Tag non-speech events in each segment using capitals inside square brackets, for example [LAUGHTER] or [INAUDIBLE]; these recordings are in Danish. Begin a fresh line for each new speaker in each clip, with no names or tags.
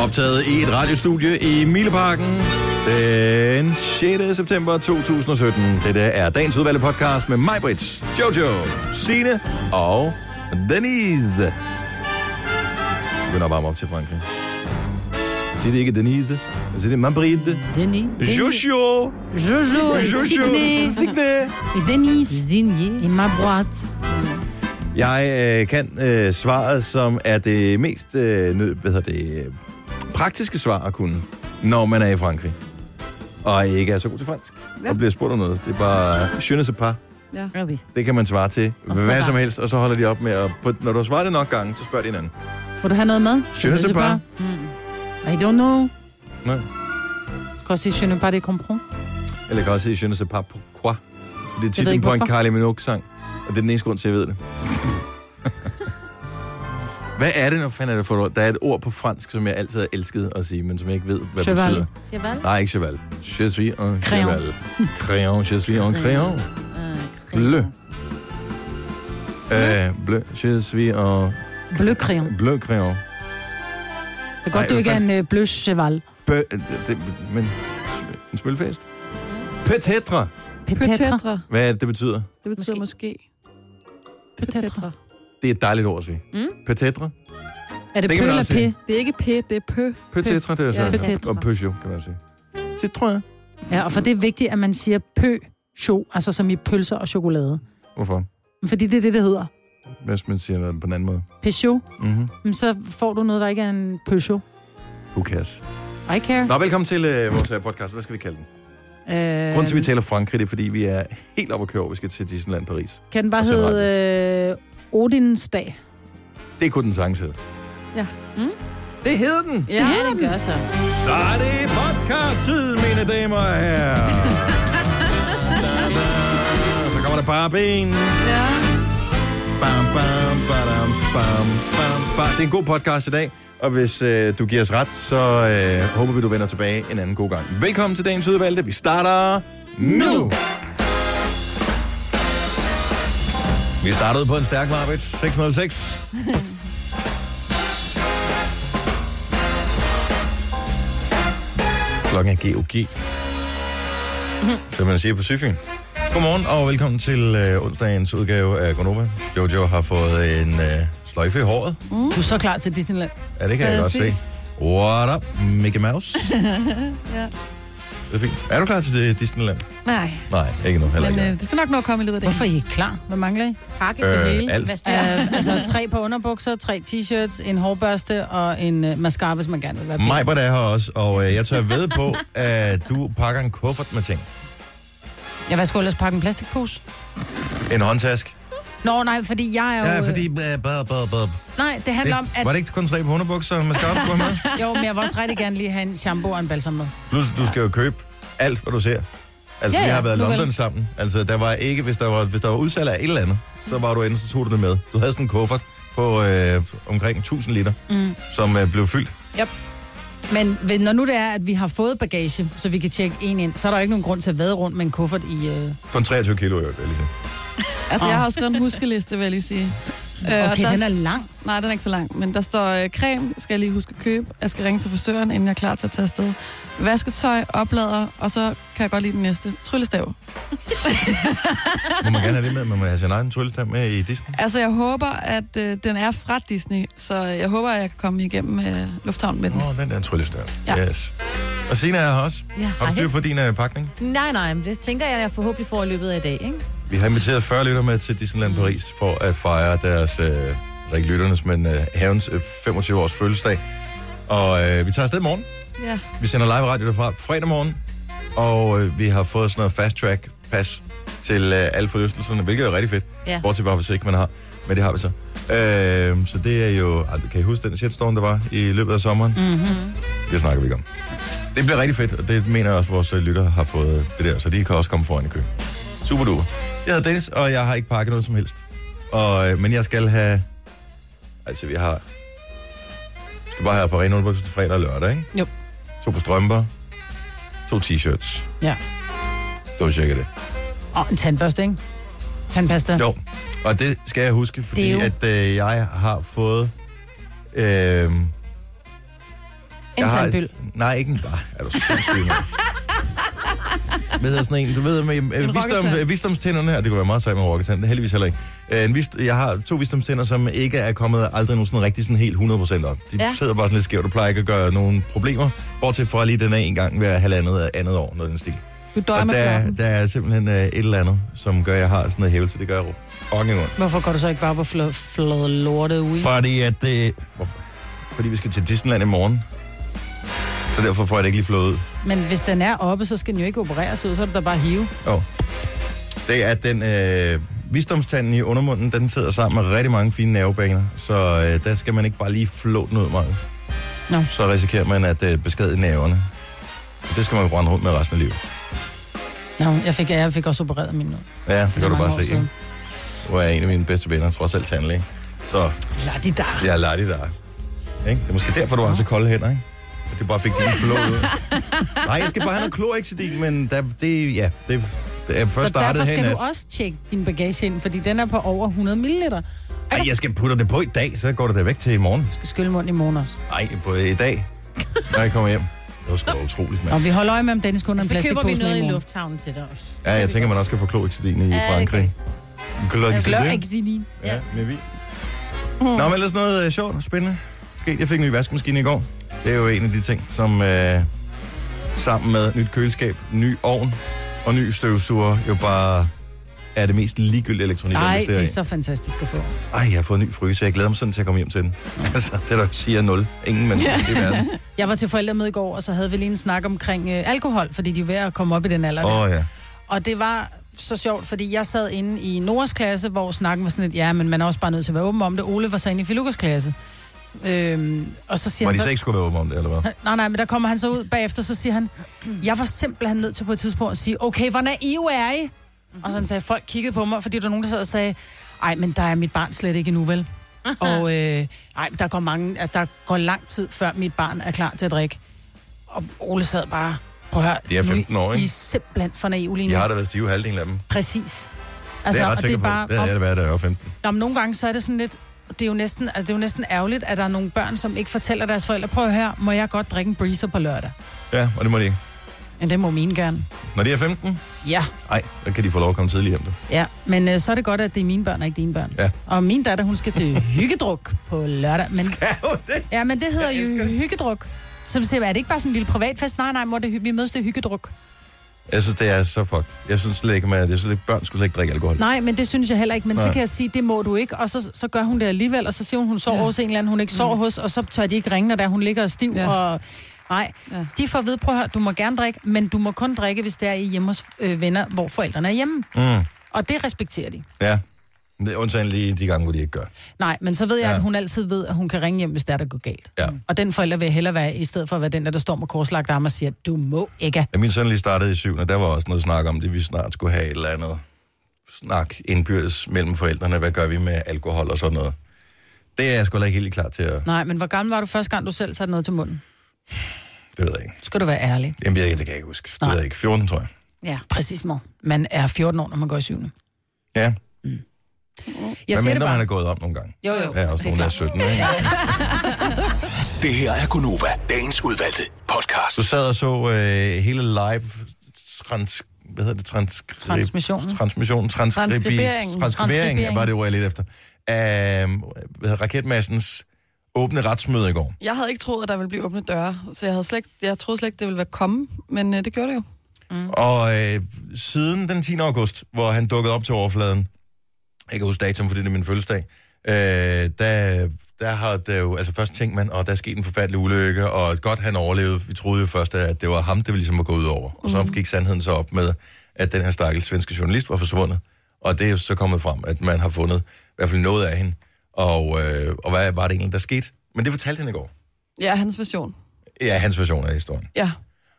optaget i et radiostudie i Mileparken den 6. september 2017. Det der er dagens udvalgte podcast med mig, Brits, Jojo, Sine og Denise. Jeg begynder at varme op til Frankrig. Siger det ikke Denise? Jeg siger det Mabrid.
Denis.
Jojo!
Jojo.
Jojo!
Signe.
Signe!
I Denis. I ma droite.
Jeg øh, kan øh, svaret, som er det mest øh, nød, hvad hedder det, øh, praktiske svar at kunne, når man er i Frankrig. Og ikke er så god til fransk.
Ja.
Og bliver spurgt om noget. Det er bare, je ne sais pas.
Ja.
Ruby.
Det kan man svare til.
Og så
hvad
bare-
som helst. Og så holder de op med at... På, når du har svaret det nok gange, så spørger de hinanden.
Vil du have noget med?
Je ne sais pas.
Hmm. I don't know.
Nej.
Du kan også sige, je ne pas de comprend.
Eller jeg kan også sige, je ne sais pas pourquoi. For det er
ved
titlen
ikke,
på en
hvorfor.
Kylie Minogue-sang. Og det er den eneste grund til, at jeg ved det. [LAUGHS] hvad er det, når fanden er det for et ord? Der er et ord på fransk, som jeg altid har elsket at sige, men som jeg ikke ved, hvad det
Cheval.
betyder.
Cheval?
Nej, ikke cheval. Je suis un
Crayon.
cheval. Crayon, je suis un crayon. Bleu. Øh, bleu. Je suis un
Blø crayon.
bleu crayon.
Det er
Ej,
godt, du
hvad
ikke er en øh, blø cheval.
Bø, øh, det, det, men en smølfest. Petetre.
Petetra.
Petetra.
Hvad er det, det betyder?
Det betyder måske.
Petetra.
Petetra.
Det er et dejligt ord at sige.
Mm.
Petetre.
Er det
Det
pø
kan man
eller
også
p?
sige.
Det er ikke P, det er Pø.
Petetre, det er
Ja,
sådan.
Petetre.
Og Peugeot, kan man også sige. Citroën.
Ja, og for det er vigtigt, at man siger pø, cho, altså som i pølser og chokolade.
Hvorfor?
Fordi det er det, det hedder.
Hvis man siger noget på den anden måde.
Peugeot.
Mm-hmm.
Men så får du noget, der ikke er en Peugeot.
Who cares?
I care.
Nå, velkommen til øh, vores øh, podcast. Hvad skal vi kalde den?
Øh,
Grunden til, at vi taler Frankrig, det er, fordi vi er helt oppe at køre over. Vi skal til Disneyland Paris.
Kan den bare
Og så
hedde øh, Odins dag?
Det kunne den sagtens hedde.
Ja.
Mm.
Det hedder den.
Ja,
Ja, det gør så.
Så er det podcast-tid, mine damer og herrer. [LAUGHS] Da, da. Så kommer der bare ben.
ja.
Bam, bam, badam, bam, bam, bam. Det er en god podcast i dag, og hvis øh, du giver os ret, så øh, håber vi, du vender tilbage en anden god gang. Velkommen til dagens udvalgte. Vi starter nu. nu.
Nu.
Vi startede på en stærk Marvitt. 606. Klokken er GOG. Som man siger på Syfyn. Godmorgen og velkommen til øh, onsdagens udgave af Gonova. Jojo har fået en øh, sløjfe i håret.
Mm. Du er så klar til Disneyland.
Ja, det kan jeg godt se.
Præcis.
What up, Mickey Mouse?
Ja.
Det er fint. Er du klar til det, Disneyland?
Nej,
Nej, ikke nu. Heller
men
ikke.
øh,
jeg.
det skal nok nå at komme i løbet af dagen.
Hvorfor er I ikke klar? Hvad mangler I?
Pakke
Øh,
det hele.
alt.
Hvad styrer-
Uh, altså tre på underbukser, tre t-shirts, en hårbørste og en uh, mascara, hvis man gerne vil være pæn.
Majbert er her også, og øh, jeg tør ved på, at du pakker en kuffert med ting.
Jeg vil sgu ellers pakke en plastikpose.
En håndtask.
Nå nej, fordi jeg er jo...
Ja,
øh,
fordi... Blah, blah, blah, blah.
Nej, det handler om,
Det,
at...
var det ikke kun tre på underbukser, man skal op med?
Jo, men jeg vil også rigtig gerne lige have en shampoo og en balsam med.
Plus, du skal jo købe alt, hvad du ser. Altså, ja, ja.
Ja,
vi
ja,
har været i
nu vel.
London sammen. Altså, der var ikke, hvis der var, hvis der var udsalg af et eller andet, så var du inde, så tog du det med. Du havde sådan en kuffert på øh, omkring 1000 liter, mm. som øh, blev fyldt.
Men ved- når nu det er, at vi har fået bagage, så vi kan tjekke en ind, så er der jo ikke nogen grund til at vade rundt med en kuffert i... Øh...
Kun 23 kilo, i øvrigt, vil jeg lige sige.
Altså, jeg har også skrevet en huskeliste, vil jeg lige sige. Øh, og
Okay,
der,
den er lang.
Nej, den er ikke så lang, men der står øh, creme, skal jeg lige huske at købe. Jeg skal ringe til frisøren, inden jeg er klar til at tage afsted. Vasketøj, oplader, og så kan jeg godt lide den næste. Tryllestav.
Må man gerne have det med, men man har sin egen tryllestav med i Disney.
Altså, jeg håber, at øh, den er fra Disney, så jeg håber, at jeg kan komme igennem øh, lufthavnen med den.
Åh, oh, den der tryllestav. Ja.
Ja.
Yes. Og Sina er her også.
Ja,
Har du styr på din øh, pakning?
Nej, nej, men det tænker jeg, jeg forhåbentlig får i løbet af i dag, ikke?
Vi har inviteret 40 lytter med til Disneyland Paris for at fejre deres, øh, altså ikke lytternes, men øh, havens øh, 25-års fødselsdag. Og øh, vi tager afsted i morgen.
Ja.
Vi sender live radio derfra fredag morgen, og øh, vi har fået sådan noget fast track pas til øh, alle forlystelserne, hvilket er rigtig fedt.
Ja.
Bortset bare, hvis ikke man har, men det har vi så. Øh, så det er jo... Ej, kan I huske den shitstorm, der var i løbet af sommeren? Mm-hmm. Det snakker vi ikke om. Det bliver rigtig fedt, og det mener jeg også, vores øh, lyttere har fået det der, så de kan også komme foran i køen. Super duper. Jeg hedder Dennis, og jeg har ikke pakket noget som helst. Og, øh, men jeg skal have... Altså, vi har... Vi skal bare have på rene underbukser til fredag og lørdag, ikke?
Jo.
To på strømper. To t-shirts.
Ja.
Det var cirka det.
Og en tandbørste, ikke? Tandpasta.
Jo, og det skal jeg huske, fordi øh,
Det er jo-
at øh, jeg har fået øh,
En
Jeg har-
tandbøl.
Nej, ikke en... Nej, er du sindssyg, mand. Hvad hedder sådan en? Du ved, med, med
En
visdom,
rokketand.
øh, visdomstænderne her, det kunne være meget sejt med rokketand, det er heldigvis heller ikke. Øh, en vist, jeg har to visdomstænder, som ikke er kommet aldrig nogen sådan rigtig sådan helt 100% op. De ja.
Ja.
sidder bare sådan lidt skævt og plejer ikke at gøre nogen problemer, bortset fra lige den af en gang hver halvandet øh, andet år, noget i den stil.
Du døjer
og
med
der,
der...
der er simpelthen øh, et eller andet, som gør, at jeg har sådan noget hævelse. Det gør jeg fucking ondt.
Hvorfor går du så ikke bare på flad, flad lortet ude?
Fordi at øh, det... Hvorfor? Fordi vi skal til Disneyland i morgen. Så derfor får jeg det ikke lige flået ud.
Men hvis den er oppe, så skal den jo ikke opereres ud, så er det da bare hive.
Jo. Det er den øh, visdomstanden i undermunden, den sidder sammen med rigtig mange fine nervebaner. Så øh, der skal man ikke bare lige flå den ud meget.
Nå.
Så risikerer man at øh, beskade nerverne. Og det skal man jo rende rundt med resten af livet.
Nå, jeg fik, jeg fik også opereret min nu.
Ja, det kan du
mange
bare
år
se.
siden.
Ikke? Nu er jeg en af mine bedste venner, trods alt tandlæge. Så
Lad de der.
jeg lader det der. Ikke? Det er måske derfor, du har så kolde hænder, ikke? At du bare fik din flå ud. Nej, jeg skal bare have noget klorexidin, men der, det, ja, det, det er først
Så derfor
startet her i
skal
nat.
du også tjekke din bagage ind, fordi den er på over 100 ml.
Ej, jeg skal putte det på i dag, så går det da væk til i morgen.
Skal skylle mund i morgen også.
Ej, på i dag, når jeg kommer hjem. Det var sgu da utroligt, mand.
Og vi holder øje med, om Dennis kun har en
Så køber
plastikpose
vi
med
noget
i
i
morgen.
lufthavnen til dig også.
Ja, jeg tænker, man også skal få kloexidin i
Ja, det
Frankrig.
Glør
Kloexidin?
ikke sin i.
Ja, med vi. Nå, men ellers noget øh, sjovt og spændende. Sket. Jeg fik en ny vaskemaskine i går. Det er jo en af de ting, som øh, sammen med nyt køleskab, ny ovn og ny støvsuger jo bare er det mest ligegyldige elektronik. at
Nej,
investere
det er
i.
så fantastisk at få.
Ej, jeg har fået en ny fryser. Jeg glæder mig sådan til at komme hjem til den. [LAUGHS] altså, det er der siger nul. Ingen mennesker i
[LAUGHS]
verden.
Jeg var til forældremøde i går, og så havde vi lige en snak omkring øh, alkohol, fordi de er ved at komme op i den alder.
Åh
Oh.
oh, ja.
Og det var så sjovt, fordi jeg sad inde i Noras klasse, hvor snakken var sådan lidt, ja, men man er også bare nødt til at være åben om det. Ole var så inde i Filukas klasse. Øhm, og så siger
Var
han
de
så,
så ikke skulle være åbne om det, eller hvad?
Nej, nej, men der kommer han så ud bagefter, så siger han, jeg var simpelthen nødt til på et tidspunkt at sige, okay, hvor naive er I? Og så han sagde, folk kiggede på mig, fordi der var nogen, der sad og sagde, ej, men der er mit barn slet ikke endnu, vel? Og øh, ej, der går, mange, at der går lang tid, før mit barn er klar til at drikke. Og Ole sad bare, prøv at høre,
De er
nu
15 år,
I, I
ikke?"
er simpelthen for naive lige nu.
Jeg har da været stive halvdelen af dem.
Præcis.
Altså, det er jeg
og
ret sikker på. Det havde jeg da været, da jeg var 15.
Nå, men nogle gange så er det sådan lidt... Det er, jo næsten, altså det er jo næsten ærgerligt, at der er nogle børn, som ikke fortæller deres forældre, prøv her, må jeg godt drikke en breezer på lørdag?
Ja, og det må de ikke.
Men det må mine gerne.
Når de er 15,
Ja.
nej, så kan de få lov at komme tidligere hjem. du.
Ja, men øh, så er det godt, at det er mine børn og ikke dine børn.
Ja.
Og min datter, hun skal
[LAUGHS]
til hyggedruk på lørdag. Men,
Kan jo det?
ja, men det hedder
Jeg
jo
elsker det.
hyggedruk. Så siger, jeg, er det ikke bare sådan en lille privatfest? Nej, nej, mor, det, er hy- vi mødes til hyggedruk.
Jeg synes, det er så fucked. Jeg synes slet ikke, man, jeg synes, slet ikke, børn skulle slet ikke drikke alkohol.
Nej, men det synes jeg heller ikke. Men
Nej.
så kan jeg sige, det må du ikke. Og så, så gør hun det alligevel, og så siger hun, hun sover ja.
Ja.
hos en eller anden, hun ikke sover mm. hos, og så tør de ikke ringe, når der hun ligger og stiv. Ja.
Ja.
Og, nej, ja.
Ja.
de får at vide, prøv at høre, du må gerne drikke, men du må kun drikke, hvis det er i hjemme hos øh, venner, hvor forældrene er hjemme.
Mm,
Og det respekterer de.
ja. Det er undtagen lige de gange, hvor de ikke gør.
Nej, men så ved jeg,
Ja.
ja. at hun altid ved, at hun kan ringe hjem, hvis der der går galt.
Ja.
Og den forælder vil jeg hellere være, i stedet for at være den, der, der står med korslagt arme og siger, du må ikke.
Da min søn lige startede i syvende, der var også noget snak om det, vi snart skulle have et eller andet snak indbyrdes mellem forældrene. Hvad gør vi med alkohol og sådan noget? Det er jeg sgu heller ikke helt klar til at...
Nej, men hvor gammel var du første gang, du selv satte noget til munden?
Det ved jeg ikke.
Skal du være ærlig?
Jamen, jeg, det kan jeg ikke huske. Det
Nej.
ved jeg ikke. 14, tror jeg.
Ja.
Præcis, mor. Man er 14 år, når man går i syvende.
Ja,
Jeg
hvad
siger det
mindre man
bare.
er gået om nogle gange.
Jo, jo.
Der er også
det er
nogen, der er
klart.
17.
[LAUGHS]
Ikke?
Det her er Gonova, dagens udvalgte podcast.
Du sad og så øh, hele live trans, hvad hedder det, transkri-
Transmissionen.
transmission, transkribi- transkribering,
Transkriberingen.
Transkribering.
var det ord, jeg lidt efter. Af, hvad hedder raketmassens åbne retsmøde i går.
Jeg havde ikke troet, at der ville blive åbne døre, så jeg, havde slet, ikke- jeg troede slet ikke, det ville være komme, men øh, det gjorde det jo.
Mm. Og øh, siden den 10. august, hvor han dukkede op til overfladen, jeg kan huske datoen, fordi det er min fødselsdag, øh, der, der har det jo, altså først tænkte man, og der er sket en forfærdelig ulykke, og godt han overlevede. Vi troede jo først, at det var ham, det ville ligesom var gået ud over. Og så gik sandheden så op med, at den her stakkels svenske journalist var forsvundet. Og det er jo så kommet frem, at man har fundet i hvert fald noget af hende. Og, øh, og hvad var det egentlig, der skete? Men det fortalte han i går.
Ja, hans version.
Ja, hans version af historien.
Ja.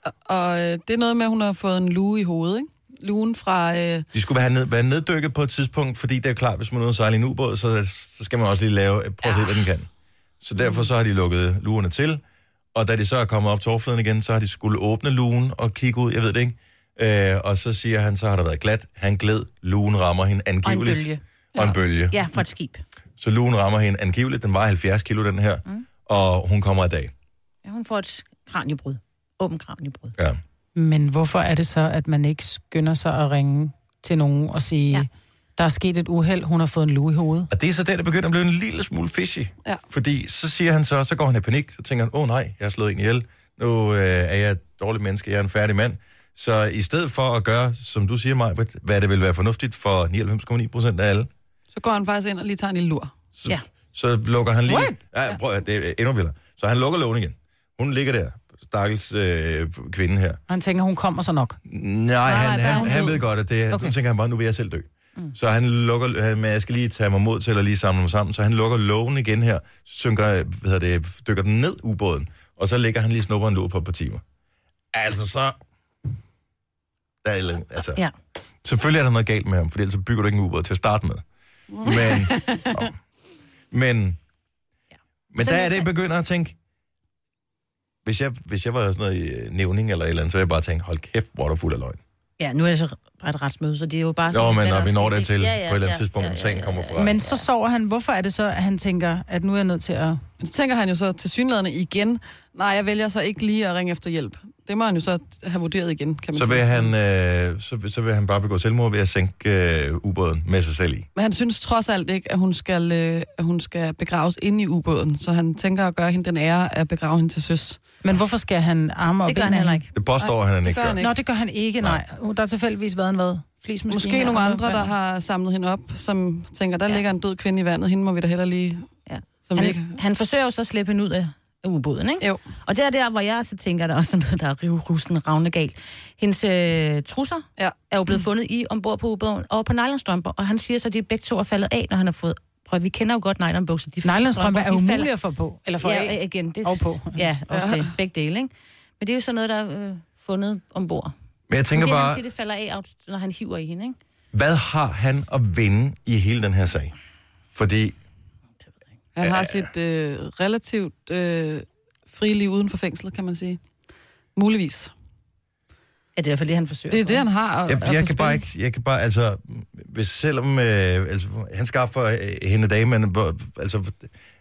Og, og øh, det er noget med, at hun har fået en lue i hovedet, ikke? Luen fra... Øh,
De skulle være, ned, være neddykket på et tidspunkt, fordi det er klart, hvis man er ude og sejle i en ubåd, så, så skal man også lige lave, prøve at se, hvad den kan. Så derfor så har de lukket lugerne til, og da de så er kommet op til overfladen igen, så har de skulle åbne lugen og kigge ud, jeg ved det ikke. Øh, og så siger han, så har der været glat, han gled, lugen rammer hende
Og en
angiveligt.
bølge.
Og en bølge.
Ja, fra et skib.
Så lugen rammer hende angiveligt, den var 70 kilo, den her, mm. og hun kommer i dag.
Ja, hun får et kranjebrud. Åben kranjebrud.
Ja.
Men hvorfor er det så, at man ikke skynder sig at ringe til nogen og sige,
Ja.
ja. der er sket et uheld, hun har fået en lue i hovedet?
Og det er så der, det begynder at blive en lille smule fishy.
Ja.
Fordi så siger han så, så går han i panik, så tænker han, åh oh, nej, jeg har slået en ihjel, nu øh, er jeg et dårligt menneske, jeg er en færdig mand. Så i stedet for at gøre, som du siger, Maj, hvad det vil være fornuftigt for 99,9 procent af alle,
Så går han faktisk ind og lige tager en lille lur.
så,
Ja.
så lukker han lige...
What?
Ja, prøv, at- det er endnu vildere. Så han lukker lågen igen. Hun ligger der, stakkels øh, kvinde her.
Og han tænker, hun kommer så nok.
Nej, han,
der er
han,
hun
han
død.
ved godt, at det okay.
Okay.
så tænker han bare, nu vil jeg selv dø. Mm. Så han lukker, han, men jeg skal lige tage mig mod til at lige samle mig sammen, så han lukker lågen igen her, synker, hvad hedder det, dykker den ned ubåden, og så lægger han lige snupper en låg på et par timer. Altså så... Der er, et eller andet- altså,
Ja.
Selvfølgelig er der noget galt med ham, for ellers så bygger du ikke en ubåd til at starte
[LAUGHS]
med. Men, nå. men, men
Så
der
vi
er det, jeg
kan-
begynder at tænke, hvis jeg, hvis jeg var sådan noget i øh, nævning eller et eller andet, så ville jeg bare tænke, hold kæft, hvor er du fuld af løgn.
Ja, nu er det så bare et retsmøde, så det er jo bare...
Nå, men
sådan, hvad
når vi
Altså, der er
når
sket,
det til
ikke?
på et eller andet tidspunkt, hvor sagen kommer fra.
Men så sover han. Hvorfor er det så, at han tænker, at nu er jeg nødt til at...
Så tænker han jo så til synlædende igen, nej, jeg vælger så ikke lige at ringe efter hjælp. Det må han jo så have vurderet igen, kan man
Så
sige.
vil, han, øh, så, vil- så vil han bare begå selvmord ved at sænke øh, ubåden med sig selv i.
Men han synes trods alt ikke, at hun skal, øh, at hun skal begraves inde i ubåden, så han tænker at gøre hende den ære at begrave hende til søs.
Men hvorfor skal han arme og
Det gør
ben
han
af
heller
hende?
ikke.
Det påstår han, han ikke
gør
gør.
han
Nå, det gør han ikke, nej. Der har tilfældigvis været en hvad? Flismaskine.
Måske nogle
og-
andre, der har samlet hende op, som tænker, der
Ja.
ja. ligger en død kvinde i vandet, hende må vi da heller lige...
Ja.
Som vi ikke...
Han, han forsøger jo så at slippe hende ud af af ubåden, ikke?
Jo.
Og det er der, hvor jeg så tænker, at der også er noget, der er rivrusen ravne galt. Hendes øh, trusser
Ja.
er jo blevet fundet i ombord på ubåden og på nylonstrømper, og han siger så, at de begge to er faldet af, når han har fået... Prøv, at- vi kender jo godt nylonbukser. De
Nylonstrømper er
de falder-
umulige at få på. Eller få
ja,
af.
igen, det,
Og på.
[LAUGHS] Ja, også
Ja.
det. Begge dele, ikke? Men det er jo sådan noget, der er øh, fundet ombord.
Men jeg tænker
det, han
bare,
siger, det falder af, når han hiver i hende, ikke?
hvad har han at vinde i hele den her sag? Fordi
Han har sit øh, relativt øh, frie liv uden for fængslet, kan man sige. Muligvis.
Ja, det er i hvert fald det, han forsøger.
Det er det, han har. at- at
Jeg, jeg kan
forspille.
bare ikke, jeg kan bare, altså, hvis selvom, øh, altså, han skaffer øh, hende dage, men hvor, altså,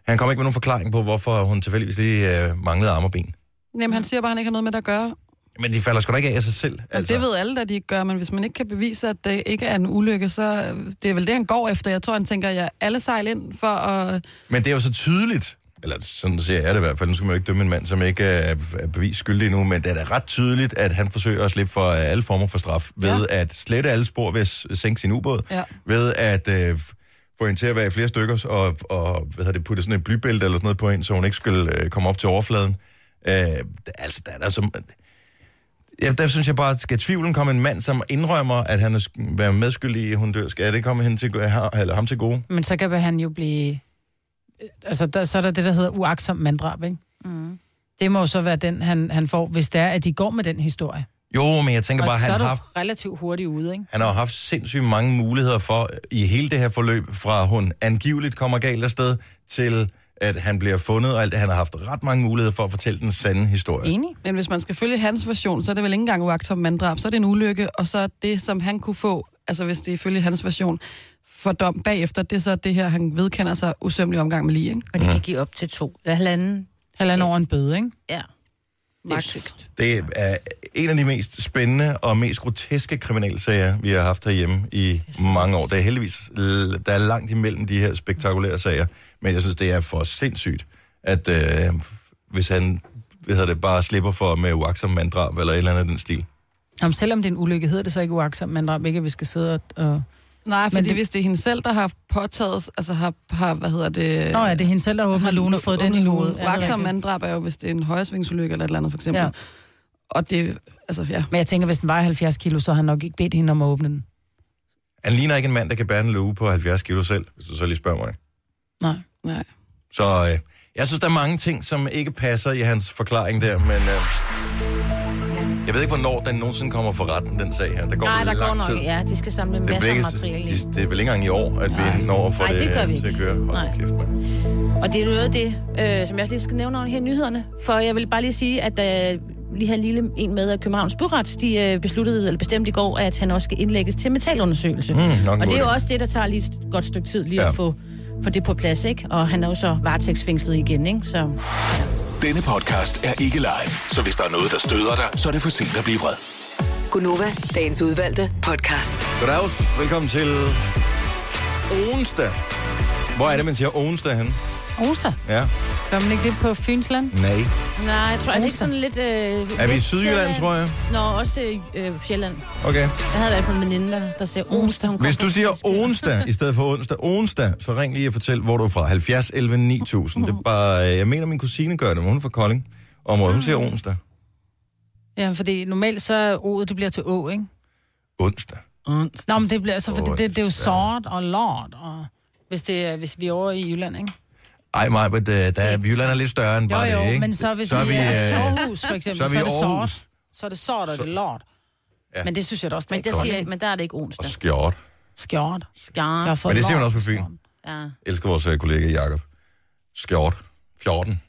han kom ikke med nogen forklaring på, hvorfor hun tilfældigvis lige øh, manglede arme og ben.
Jamen, han siger bare, at han ikke har noget med det at gøre.
Men de falder sgu da ikke af af sig selv.
Altså. Det ved alle, at de ikke gør, men hvis man ikke kan bevise, at det ikke er en ulykke, så øh, det er vel det, han går efter. Jeg tror, han tænker, at jeg alle sejl ind for at...
Men det er jo så tydeligt, eller sådan ser jeg det i hvert fald, nu skal man jo ikke dømme en mand, som ikke er, er bevis skyldig endnu, men det er da ret tydeligt, at han forsøger at slippe for øh, alle former for straf, ved ja. at slette alle spor ved at s- sænke sin ubåd,
Ja.
ved at øh, få hende til at være i flere stykker, og, og hvad hedder det, putte sådan et blybælte eller sådan noget på hende, så hun ikke skulle øh, komme op til overfladen. Øh, altså, der er der som... Ja, der synes jeg bare, at skal tvivlen komme en mand, som indrømmer, at han er sk- være medskyldig i, at hun dør, skal det komme hende til, go- eller ham til gode?
Men så kan han jo blive... Altså, der, så er der det, der hedder uaksom manddrab, ikke?
Mm.
Det må jo så være den, han, han får, hvis det er, at de går med den historie.
Jo, men jeg tænker
Og
bare,
så
han
er du
har
relativt hurtigt ude, ikke?
Han har jo haft sindssygt mange muligheder for, i hele det her forløb, fra hun angiveligt kommer galt afsted, til at han bliver fundet og alt det. Han har haft ret mange muligheder for at fortælle den sande historie.
Enig?
Men hvis man skal følge hans version, så er det vel ikke engang uagtsom manddrab. Så er det en ulykke, og så er det, som han kunne få, altså hvis det er ifølge hans version, for dom bagefter, det er så det her, han vedkender sig usømmelig omgang med lige, ikke?
Og det
Mm.
kan give op til to. Eller halvanden.
Halvanden over en bøde, ikke?
Ja.
Max.
Det er en af de mest spændende og mest groteske kriminalsager, vi har haft herhjemme i mange år. Der er heldigvis l- der er langt imellem de her spektakulære sager, men jeg synes, det er for sindssygt, at øh, hvis han hvad hedder det, bare slipper for med uaksom manddrab eller et eller andet af den stil.
Om selvom det er en ulykke, hedder det så ikke uaksom manddrab, ikke? At vi skal sidde og... og...
Nej, fordi
det-
det... hvis det er hende selv, der har påtaget, altså har, har hvad hedder det...
Nå ja, det er hende selv, der åbner lugen og fået den i hovedet. Ja, det er
Uagtsom
rigtigt.
manddrab er jo, hvis det er en højresvingsulykke eller et eller andet, for eksempel.
Ja.
Ja. Og det, altså ja.
Men jeg tænker, hvis den vejer 70 kilo, så har han nok ikke bedt hende om at åbne den.
Han ligner ikke en mand, der kan bære en løve på 70 kilo selv, hvis du så lige spørger mig.
Nej.
Nej.
Så øh, jeg synes, der er mange ting, som ikke passer i hans forklaring der, men øh, jeg ved ikke, hvornår den nogensinde kommer for retten, den sag her. Der går
Nej, der
lang
går nok.
tid.
Ja, de skal samle
Det er,
masser
vel
af
ikke,
materiale
de,
ind.
det er vel ikke engang i år, at Nej. vi når at få
Nej,
det,
det gør vi
til at
ikke.
køre. Hold
Nej.
kæft, mand.
Og det er noget af det, øh, som jeg også lige skal nævne over her i nyhederne. For jeg vil bare lige sige, at øh, lige her en lille en med at Københavns Byret, de øh, besluttede, eller bestemte i går, at han også skal indlægges til metalundersøgelse. Mm,
nok en
og det
god
er jo
idé.
også det, der tager lige et godt stykke tid lige
Ja.
ja. at få, få det på plads, ikke? Og han er jo så varetægtsfængslet igen, ikke? Så
Denne podcast er ikke live, så hvis der er noget, der støder dig, så er det for sent at blive vred.
Gunova, dagens udvalgte podcast.
Goddags, velkommen til onsdag. Hvor er det, man siger onsdag hen?
Onsdag.
Ja,
Gør man ikke det på Fynsland?
nej.
Nej, jeg tror, er det ikke sådan lidt... Øh,
Er
lidt
vi i Sydjylland,
Sjælland?
tror jeg?
Nå, også øh, øh, Sjælland.
Okay.
Jeg havde i hvert fald en veninde, der, der sagde onsdag. Hun kom
Hvis
fra
du siger
Sydjylland.
onsdag i stedet for onsdag, onsdag, så ring lige og fortæl, hvor du er fra. 70 11 9000. Det er bare, øh, jeg mener, min kusine gør det, men hun er fra Kolding. Området, hun siger
Ah.
onsdag.
Ja, fordi normalt så er O'et, det bliver til Å, ikke?
Onsdag.
Nå, men det bliver så, fordi det, det er jo sort og lord, og hvis, det er, hvis vi er over i Jylland, ikke?
Ej, mig, men øh, der er, Jylland er lidt større end
Jo,
bare det,
jo,
ikke?
men så hvis
så er vi,
er i
øh,
Aarhus, for eksempel,
så
så
er
er,
vi i
det
Aarhus.
sort. Så er det sort, og det er lord.
Ja.
Ja. Men det synes jeg da også, det
Men
er
der,
godt.
siger, men der er det ikke onsdag.
skjort.
Skjort. Jeg har
Skars.
fået
Men det siger man
lort.
også på Fyn.
Ja.
Elsker vores øh, kollega Jakob. Skjort. 14.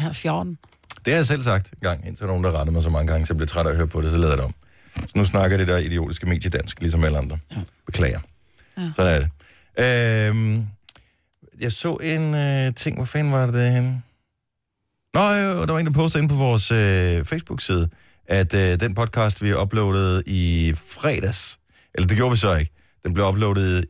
Ja, 14.
Det har jeg selv sagt en gang, indtil nogen, der rettede mig så mange gange, så jeg blev træt af at høre på det, så lavede jeg det om. Så nu snakker det der idiotiske medie dansk, ligesom alle andre. Beklager. Ja. Sådan er det. Øhm, jeg så en øh, ting, hvor fanden var det henne? Nå, jo, der var en, der postede ind på vores øh, Facebook-side, at øh, den podcast, vi uploadede i fredags, eller det gjorde vi så ikke, den blev uploadet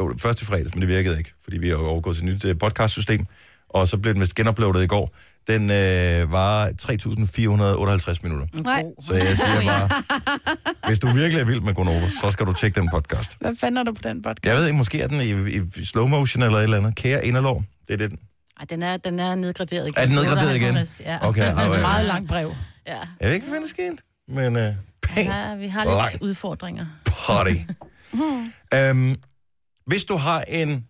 jo, først i fredags, men det virkede ikke, fordi vi har jo overgået til et nyt øh, podcastsystem, og så blev den vist genuploadet i går. Den øh, var 3.458 minutter.
Nej,
Så jeg siger bare, hvis du virkelig er vild med Gonova, så skal du tjekke den podcast.
Hvad fanden er der på den podcast?
Jeg ved ikke, måske er den i, i slow motion eller et eller andet. Kære inderlov, det er det, den.
Ej, den er, den er nedgraderet igen.
Er den nedgraderet igen?
58, [LAUGHS] Ja.
Okay,
Det er
ej,
et meget
ej.
langt brev.
ja.
Jeg ved ikke, hvad der skete, men øh, pænt
ja. vi har
Langt.
lidt udfordringer.
potty. øhm, hvis du har en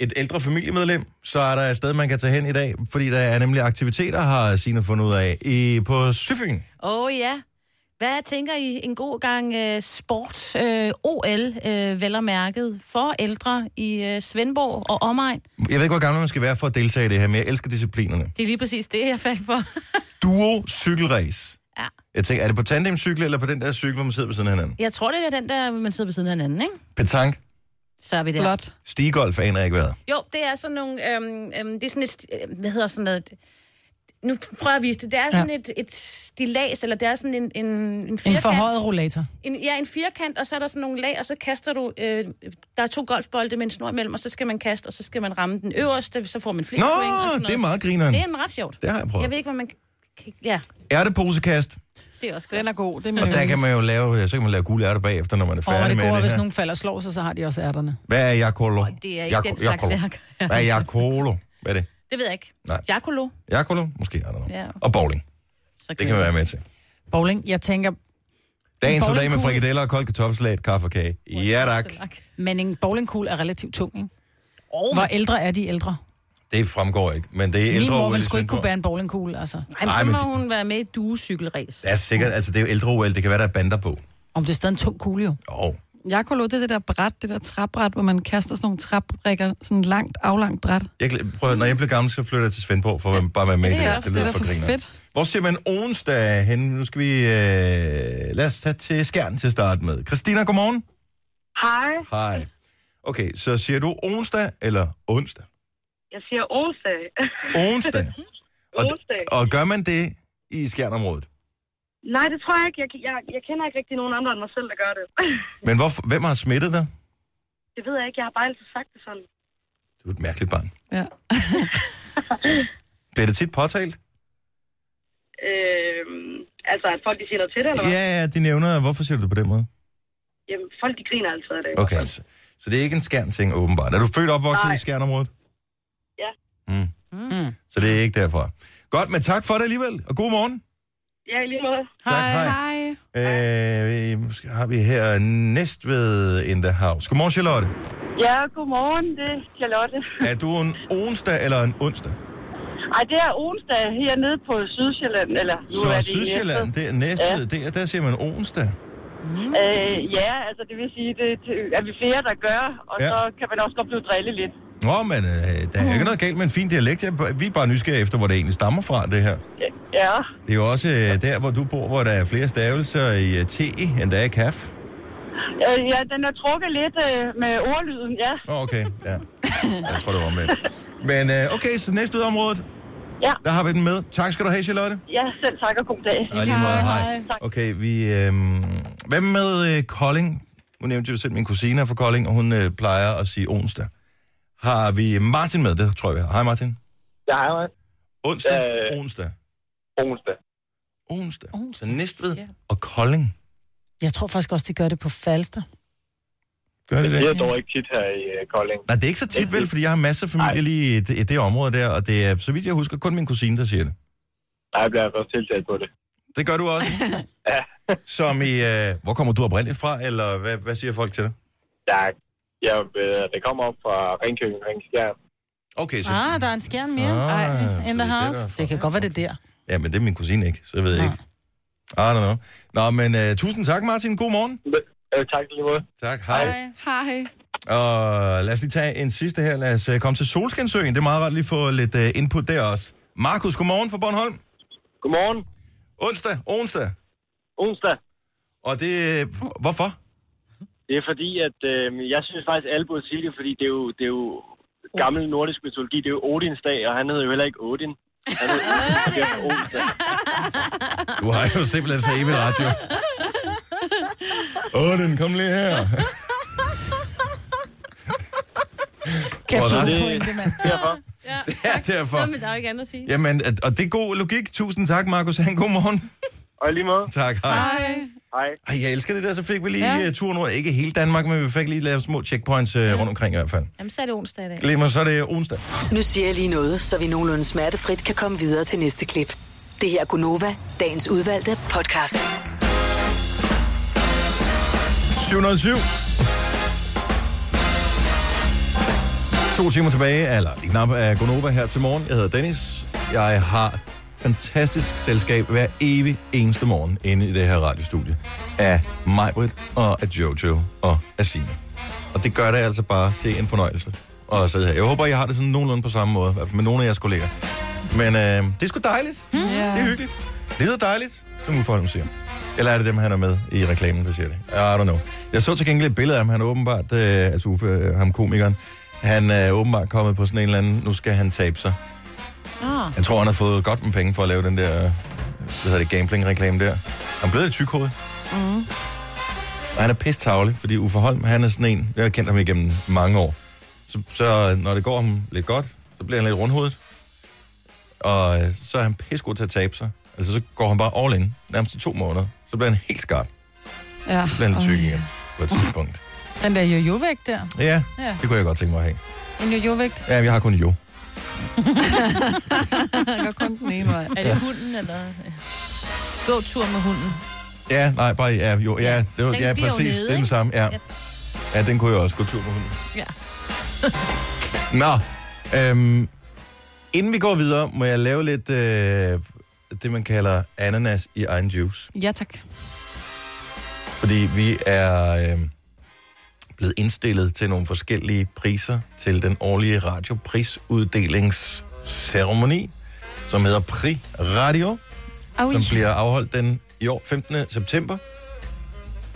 et ældre familiemedlem, så er der et sted, man kan tage hen i dag, fordi der er nemlig aktiviteter, har Signe fundet ud af, i, på Syfyn.
Åh oh, ja. Hvad tænker I en god gang øh, sport, øh, OL, øh, vel og mærket, for ældre i øh, Svendborg og omegn?
Jeg ved ikke, hvor gammel man skal være for at deltage i det her, men jeg elsker disciplinerne.
Det er lige præcis det, jeg faldt for. [LAUGHS]
Duo cykelrace.
Ja.
Jeg tænker, er det på tandemcykel eller på den der cykel, hvor man sidder ved siden af hinanden?
Jeg tror, det er den der, man sidder ved siden af hinanden, ikke?
Petanque,
Så er vi der.
flot.
stigolf aner jeg ikke været.
Jo, det er sådan nogle... Øhm, øhm, det er sådan et... st- øh, Hvad hedder sådan noget... Nu prøver jeg at vise det. Det er sådan ja. et, et stilas, eller det er sådan en, en, en
En
firkant.
forhøjet rollator.
en, ja, en firkant, og så er der sådan nogle lag, og så kaster du... Øh, der er to golfbolde med en snor imellem, og så skal man kaste, og så skal man ramme den øverste, så får man flere point og
Nå,
sådan noget.
det er meget grineren.
det er en ret sjovt.
Det har jeg prøvet.
Jeg ved ikke, hvad man... kan- kan- Ja,
Ærteposekast,
det er også godt.
Den er god. Det er
og der kan man jo lave, så kan man lave gule ærter bagefter, når man er
Og
færdig
det
med
går,
det
hvis
her.
nogen falder og slår sig, så har de også ærterne.
Hvad er jakolo?
Det er ikke den slags ærker.
Hvad er jakolo? Hvad er det?
[LAUGHS] Det ved jeg ikke.
Nej.
Jakolo.
Jakolo? Måske, I don't know.
Ja.
Og bowling.
Så
Det kan man være med til.
Bowling, jeg tænker,
Dagens
En
dag med
bowlingkugle.
frikadeller og kold kartoffelsalat, kaffe og kage. Ja tak.
men en bowlingkugle er relativt tung, ikke?
Oh,
Hvor ældre er de ældre?
Det fremgår ikke, men det er ældre
Min mor
OL i
ville sgu ikke kunne
Svendborg.
bære en bowlingkugle, altså.
Ej, men
Ej,
så
men
må
det-
hun være med i et duecykelræs.
Det er sikkert, altså det er jo ældre OL, det kan være, der er bander på.
Om det er stadig en tung kugle, jo.
Åh, oh,
Jakolo, det er det der bræt, det der træbræt, hvor man kaster sådan nogle træbrikker, sådan langt, aflangt bræt.
jeg, glæ- prøv, at- når jeg bliver gammel, så flytter jeg til Svendborg for at være- bare være med i det,
er
det,
også
det
det,
lyder
der
for
er for
griner.
fedt.
Hvor ser man onsdag hen? Nu skal vi... Øh, lad os tage til Skjern til at starte med. Christina, godmorgen.
Hej,
Hej. Okay, så siger du onsdag eller onsdag?
jeg siger onsdag.
Onsdag. Og,
Onsdag.
og gør man det i skjernområdet?
[LAUGHS] Nej, det tror jeg ikke. Jeg, jeg, jeg kender ikke rigtig nogen andre end mig selv, der gør det. [LAUGHS]
Men hvorfor, hvem har smittet dig?
det ved jeg ikke. Jeg har bare altid sagt det sådan.
Du er et mærkeligt barn.
Ja.
[LAUGHS] Bliver det tit påtalt?
Øh, altså, at folk de siger noget til det, eller hvad?
Ja, ja, de nævner, hvorfor siger du det på den måde?
Jamen, folk de griner altid af det.
Okay, altså. Så det er ikke en skærn ting, åbenbart. Er du født og opvokset
Nej.
i skærnområdet?
Ja.
Mm. Mm. Så det er ikke derfra. Godt, men tak for det alligevel, og god morgen.
Ja, i lige måde.
Hej, tak, hej.
Hej.
hej. Øh, måske har vi her Næstved in the house. Godmorgen, Charlotte.
Ja, godmorgen. Det er Charlotte.
Er du en onsdag eller en onsdag?
Ej, det er onsdag hernede på Sydsjælland. Eller, nu er
Så
det i
Sydsjælland,
Næstved.
det er Næstved, ja. der, der siger man onsdag.
Øh, ja, altså det vil sige, det det er vi flere, der gør, og
Ja.
ja. så kan man også godt blive drillet lidt.
Nå, men øh, der er jo ikke noget galt med en fin dialekt. Jeg, vi er bare nysgerrige efter, hvor det egentlig stammer fra, det her.
Ja, Ja,
Det er jo også øh, der, hvor du bor, hvor der er flere stavelser i øh, T, end der er i kaf.
øh, ja den er trukket lidt øh, med ordlyden, ja.
Nå, okay, ja. Jeg tror, det var omvendt. Men øh, okay, så næste udområde.
Ja.
Der har vi den med. Tak skal du have, Charlotte.
Ja, selv tak og god dag.
Og lige måde,
Hej,
hej. Okay, vi... Øhm, hvad med øh, Kolding? Nu nævnte jeg jo selv, min kusine er fra Kolding, og hun øh, plejer at sige onsdag. Har vi Martin med? Det tror jeg, vi har. Hej, Martin.
Ja, hej, hej.
Onsdag?
Øh.
Onsdag.
Onsdag.
Onsdag. Så
Onsdag,
Næstved
ja.
og Kolding.
Jeg tror faktisk også, de gør det på Falster.
Gør de
Det
det?
er dog ikke tit her i øh, Kolding.
Nej, det er ikke så tit, vel, fordi jeg har masser af
Nej.
familie lige i det, i det område der, og det er, så vidt jeg husker, kun min kusine, der siger det.
Nej, jeg bliver først tiltalt på det.
Det gør du også.
Ja.
Som i, øh, hvor kommer du oprindeligt fra, eller hvad, hvad siger folk til dig?
Der, jeg, øh, det kommer op fra Ringkøbing, Ringskjern.
Okay, så...
Ah, der er en skærm mere.
Ah,
Ah,
så
in
det er
the house.
derfor.
Det, kan godt være, det er der.
Ja, men det er min kusine ikke, så jeg ved jeg ikke. I don't know. Nå, men uh, tusind tak, Martin. God morgen.
Øh, tak i lige måde.
Tak, hej.
Hej.
Og lad os lige tage en sidste her. Lad os uh, komme til Solskensøen. Det er meget rart lige at få lidt uh, input der også. Markus, godmorgen fra Bornholm.
Godmorgen.
Onsdag, onsdag.
Onsdag.
Og det... Uh, hvorfor?
Det er fordi, at øh, jeg synes faktisk alle burde sige det, fordi det er jo, det er jo gammel nordisk mytologi. Det er jo Odins dag, og han hedder jo heller ikke Odin. Han hedder Odin, så det er onsdag.
Du har jo simpelthen så evigt radio. Åh, den kom lige her.
Kæft,
Og
du
der-
har en
det-
pointe, mand.
Derfor.
Det er derfor.
Nå, men der er jo ikke andet at sige.
Jamen, at- og det er god logik. Tusind tak, Markus. Han, god morgen. [LAUGHS]
Og i lige måde.
Tak,
Ah.
hej.
Hej.
Hej.
Ej, jeg elsker det der, så fik vi lige ja. turen rundt. Ikke hele Danmark, men vi fik lige lavet små checkpoints ja. rundt omkring i hvert fald.
Jamen, så er det onsdag i dag.
Glemmer, så er det onsdag.
Nu siger jeg lige noget, så vi nogenlunde smertefrit kan komme videre til næste klip. Det her er Gunova, dagens udvalgte podcast.
707. To timer tilbage, eller lige knap af Gonova her til morgen. Jeg hedder Dennis. Jeg har fantastisk selskab hver evig eneste morgen inde i det her radiostudie. Af Majbrit og af Jojo og af Signe. Og det gør det altså bare til en fornøjelse at sidde her. Jeg håber, jeg har det sådan nogenlunde på samme måde, i hvert fald med nogle af jeres kolleger. Men øh, det er sgu dejligt.
Ja.
Det er hyggeligt. Det lyder dejligt, som Uffe Holm siger. Eller er det dem, han er med i reklamen, der siger det? I don't know. Jeg så til gengæld et billede af ham. Han er åbenbart, øh, altså Uffe, øh, ham komikeren, han er åbenbart kommet på sådan en eller anden, nu skal han tabe sig.
Ah.
Jeg tror, han har fået godt med penge for at lave den der, øh, hvad hedder det, gambling-reklame der. Han er blevet et tykhoved. Mm. Og han er pisstavlig, fordi Uffe Holm, han er sådan en, jeg har kendt ham igennem mange år. Så, så når det går ham lidt godt, så bliver han lidt rundhovedet. Og øh, så er han pissegod til at tabe sig. Altså, så går han bare all in, nærmest i to måneder. Så bliver han helt skarp.
Ja.
Så bliver han tyk
Oj.
igen på et tidspunkt.
Den der jojo-vægt der.
Ja,
Ja.
det kunne jeg godt tænke mig at have.
En jojo-vægt.
Ja, jeg har kun jo.
Jeg går kun den ene vej.
Er det hunden, eller... Gå tur med hunden.
Ja, nej, bare ja, jo. Ja, det var,
Den
ja
bliver jo
præcis. det
nede,
er den
ikke?
samme. Ja.
Yep.
ja, den kunne jeg også gå tur med hunden.
Ja.
[LAUGHS] Nå, øhm, inden vi går videre, må jeg lave lidt øh, det, man kalder ananas i egen juice.
Ja, tak.
fordi vi er øh, blevet indstillet til nogle forskellige priser til den årlige radioprisuddelingsceremoni, som hedder Pri Radio,
Ui.
som bliver afholdt den i år 15. september.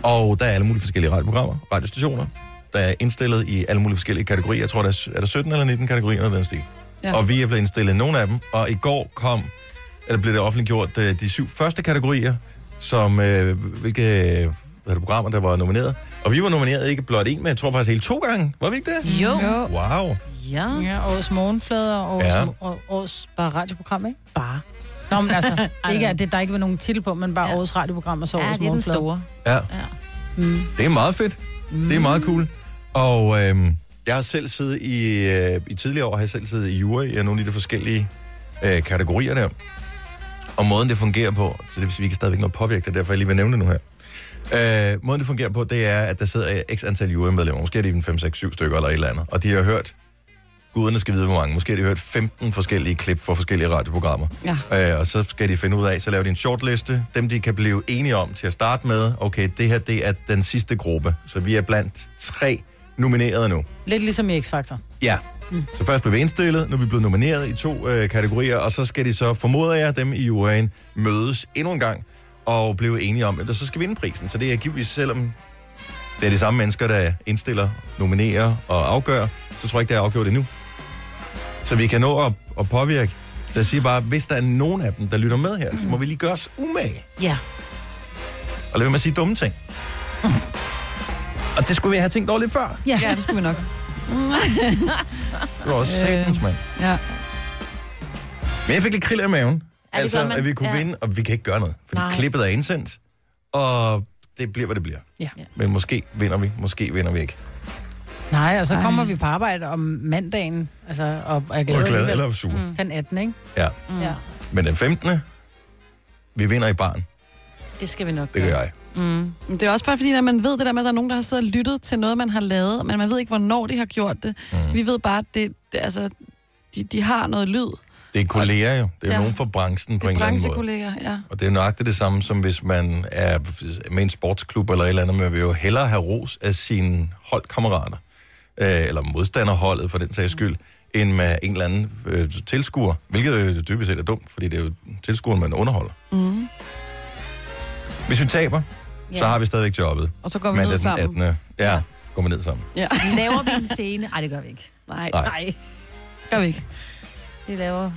Og der er alle mulige forskellige radioprogrammer, radiostationer, der er indstillet i alle mulige forskellige kategorier. Jeg tror, der er, er der 17 eller 19 kategorier, noget af den stil. Ja.
Ja.
Og vi er blevet indstillet i nogle af dem, og i går kom, eller blev det offentliggjort, øh, de syv første kategorier, som øh, hvilke hvad hedder det, programmer, der var nomineret. Og vi var nomineret ikke blot en, men jeg tror faktisk hele to gange. Var vi ikke det?
Jo.
Jo.
Wow.
Ja.
Ja, årets morgenflader og årets,
Ja.
ja. og, årets bare radioprogram, ikke?
Bare.
Nå, men [LAUGHS] altså, ikke at det, der ikke var nogen titel på, men bare ja. årets radioprogram og så
Ja,
årets
det er den
morgenflader.
store.
Ja. Det er meget fedt. Mm. Det er meget cool. Og øh, jeg har selv siddet i, øh, i tidligere år, har jeg selv siddet i jury i nogle af de forskellige øh, kategorier der. Og måden det fungerer på, så det vil sige, vi kan stadigvæk nå at påvirke det, derfor jeg lige vil nævne det nu her. Øh, måden det fungerer på, det er, at der sidder x antal jurymedlemmer, måske er det even 5, 6, 7 stykker eller et eller andet, og de har hørt, guderne skal vide hvor mange, måske har de hørt 15 forskellige klip fra forskellige radioprogrammer.
Ja.
Øh, og så skal de finde ud af, så laver de en shortliste, dem de kan blive enige om til at starte med. Okay, det her det er den sidste gruppe, så vi er blandt tre nomineret nu.
Lidt ligesom i X-Factor.
Ja. Mm. Så først blev vi indstillet, nu er vi blevet nomineret i to øh, kategorier, og så skal de så, formoder jeg, dem i juryen mødes endnu en gang og blive enige om, at så skal vinde prisen. Så det er givetvis, selvom det er de samme mennesker, der indstiller, nominerer og afgør, så tror jeg ikke, det er afgjort endnu. Så vi kan nå at, at påvirke Så jeg siger bare, hvis der er nogen af dem, der lytter med her, så må vi lige gøre os umage.
Ja.
Og lad være med at sige dumme ting. Og det skulle vi have tænkt over lidt før.
Ja.
Ja, det skulle vi nok.
Det var også satans, mand.
Ja.
Men jeg fik lidt krill af maven.
det gør
altså,
man.
at vi kunne
Ja.
vinde, og vi kan ikke gøre noget. Fordi
Nej.
klippet er indsendt, og det bliver, hvad det bliver.
Ja.
Men måske vinder vi, måske vinder vi ikke.
Nej, og så kommer vi på arbejde om mandagen, altså, og er glade,
Og glad
alligevel.
eller sur. Mm.
den 18, ikke?
Ja.
ja.
Men den 15. Vi vinder i barn.
Det skal vi nok
Det gør jeg.
Men Det er også bare fordi, at man ved det der med, at der er nogen, der har siddet og lyttet til noget, man har lavet, men man ved ikke, hvornår de har gjort det. Mm. Vi ved bare, at det, det, altså, de, de har noget lyd.
Det er kolleger jo. Det er ja.
Ja.
nogen fra branchen på
Det
en
er
eller anden måde.
branchekolleger, ja.
Og det er nøjagtigt det samme, som hvis man er med en sportsklub eller et eller andet, men vil jo hellere have ros af sine holdkammerater, øh, eller modstanderholdet for den sags skyld, end med en eller anden øh, tilskuer, hvilket øh, dybest set er dumt, fordi det er jo tilskueren, man underholder. Mm.
Mhm.
Hvis vi taber, ja. så har vi stadigvæk jobbet.
Og så går vi
Mandag
ned
den
sammen.
18. Ja, går vi ned sammen.
Ja. [LAUGHS]
Laver vi en scene? Nej, det gør vi ikke.
Nej,
Nej.
Nej,
gør vi ikke.
vi laver...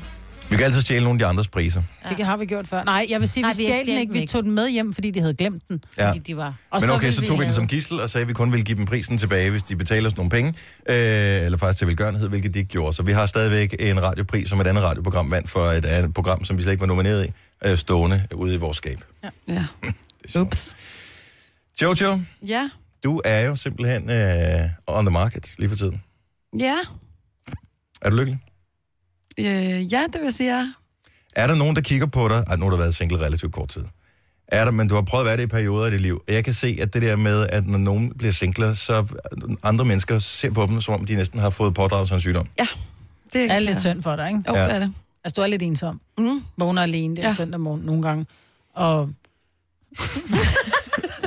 Vi kan altid stjæle nogle af de andres priser.
Det har vi gjort før. Nej, jeg vil sige,
Nej,
vi stjal den ikke. Vi tog den med hjem, fordi de havde glemt den.
Ja.
Fordi de var...
Og
Men okay,
ville
så tog vi den
have-
som gissel og sagde, at vi kun ville give dem prisen tilbage, hvis de betaler os nogle penge. Øh, eller faktisk til velgørenhed, hvilket de ikke gjorde. Så vi har stadigvæk en radiopris, som et andet radioprogram vandt for et andet program, som vi slet ikke var nomineret i, øh, stående ude i vores skab.
Ja. Ups.
Jojo,
Ja.
du er jo simpelthen øh, on the market lige for tiden.
Ja.
Er du lykkelig?
Øh, ja, det vil jeg sige, ja.
Er der nogen, der kigger på dig? Ej, nu har du været single relativt kort tid. Er der, men du har prøvet at være det i perioder i dit liv. Og jeg kan se, at det der med, at når nogen bliver singler, så andre mennesker ser på dem, som om de næsten har fået pådraget sig en sygdom.
Ja. Det
Det er lidt synd for dig, ikke?
Jo,
Ja.
det er det.
Altså, du er lidt ensom.
Mm.
Vågner alene der ja.
Ja.
søndag morgen nogle gange. Og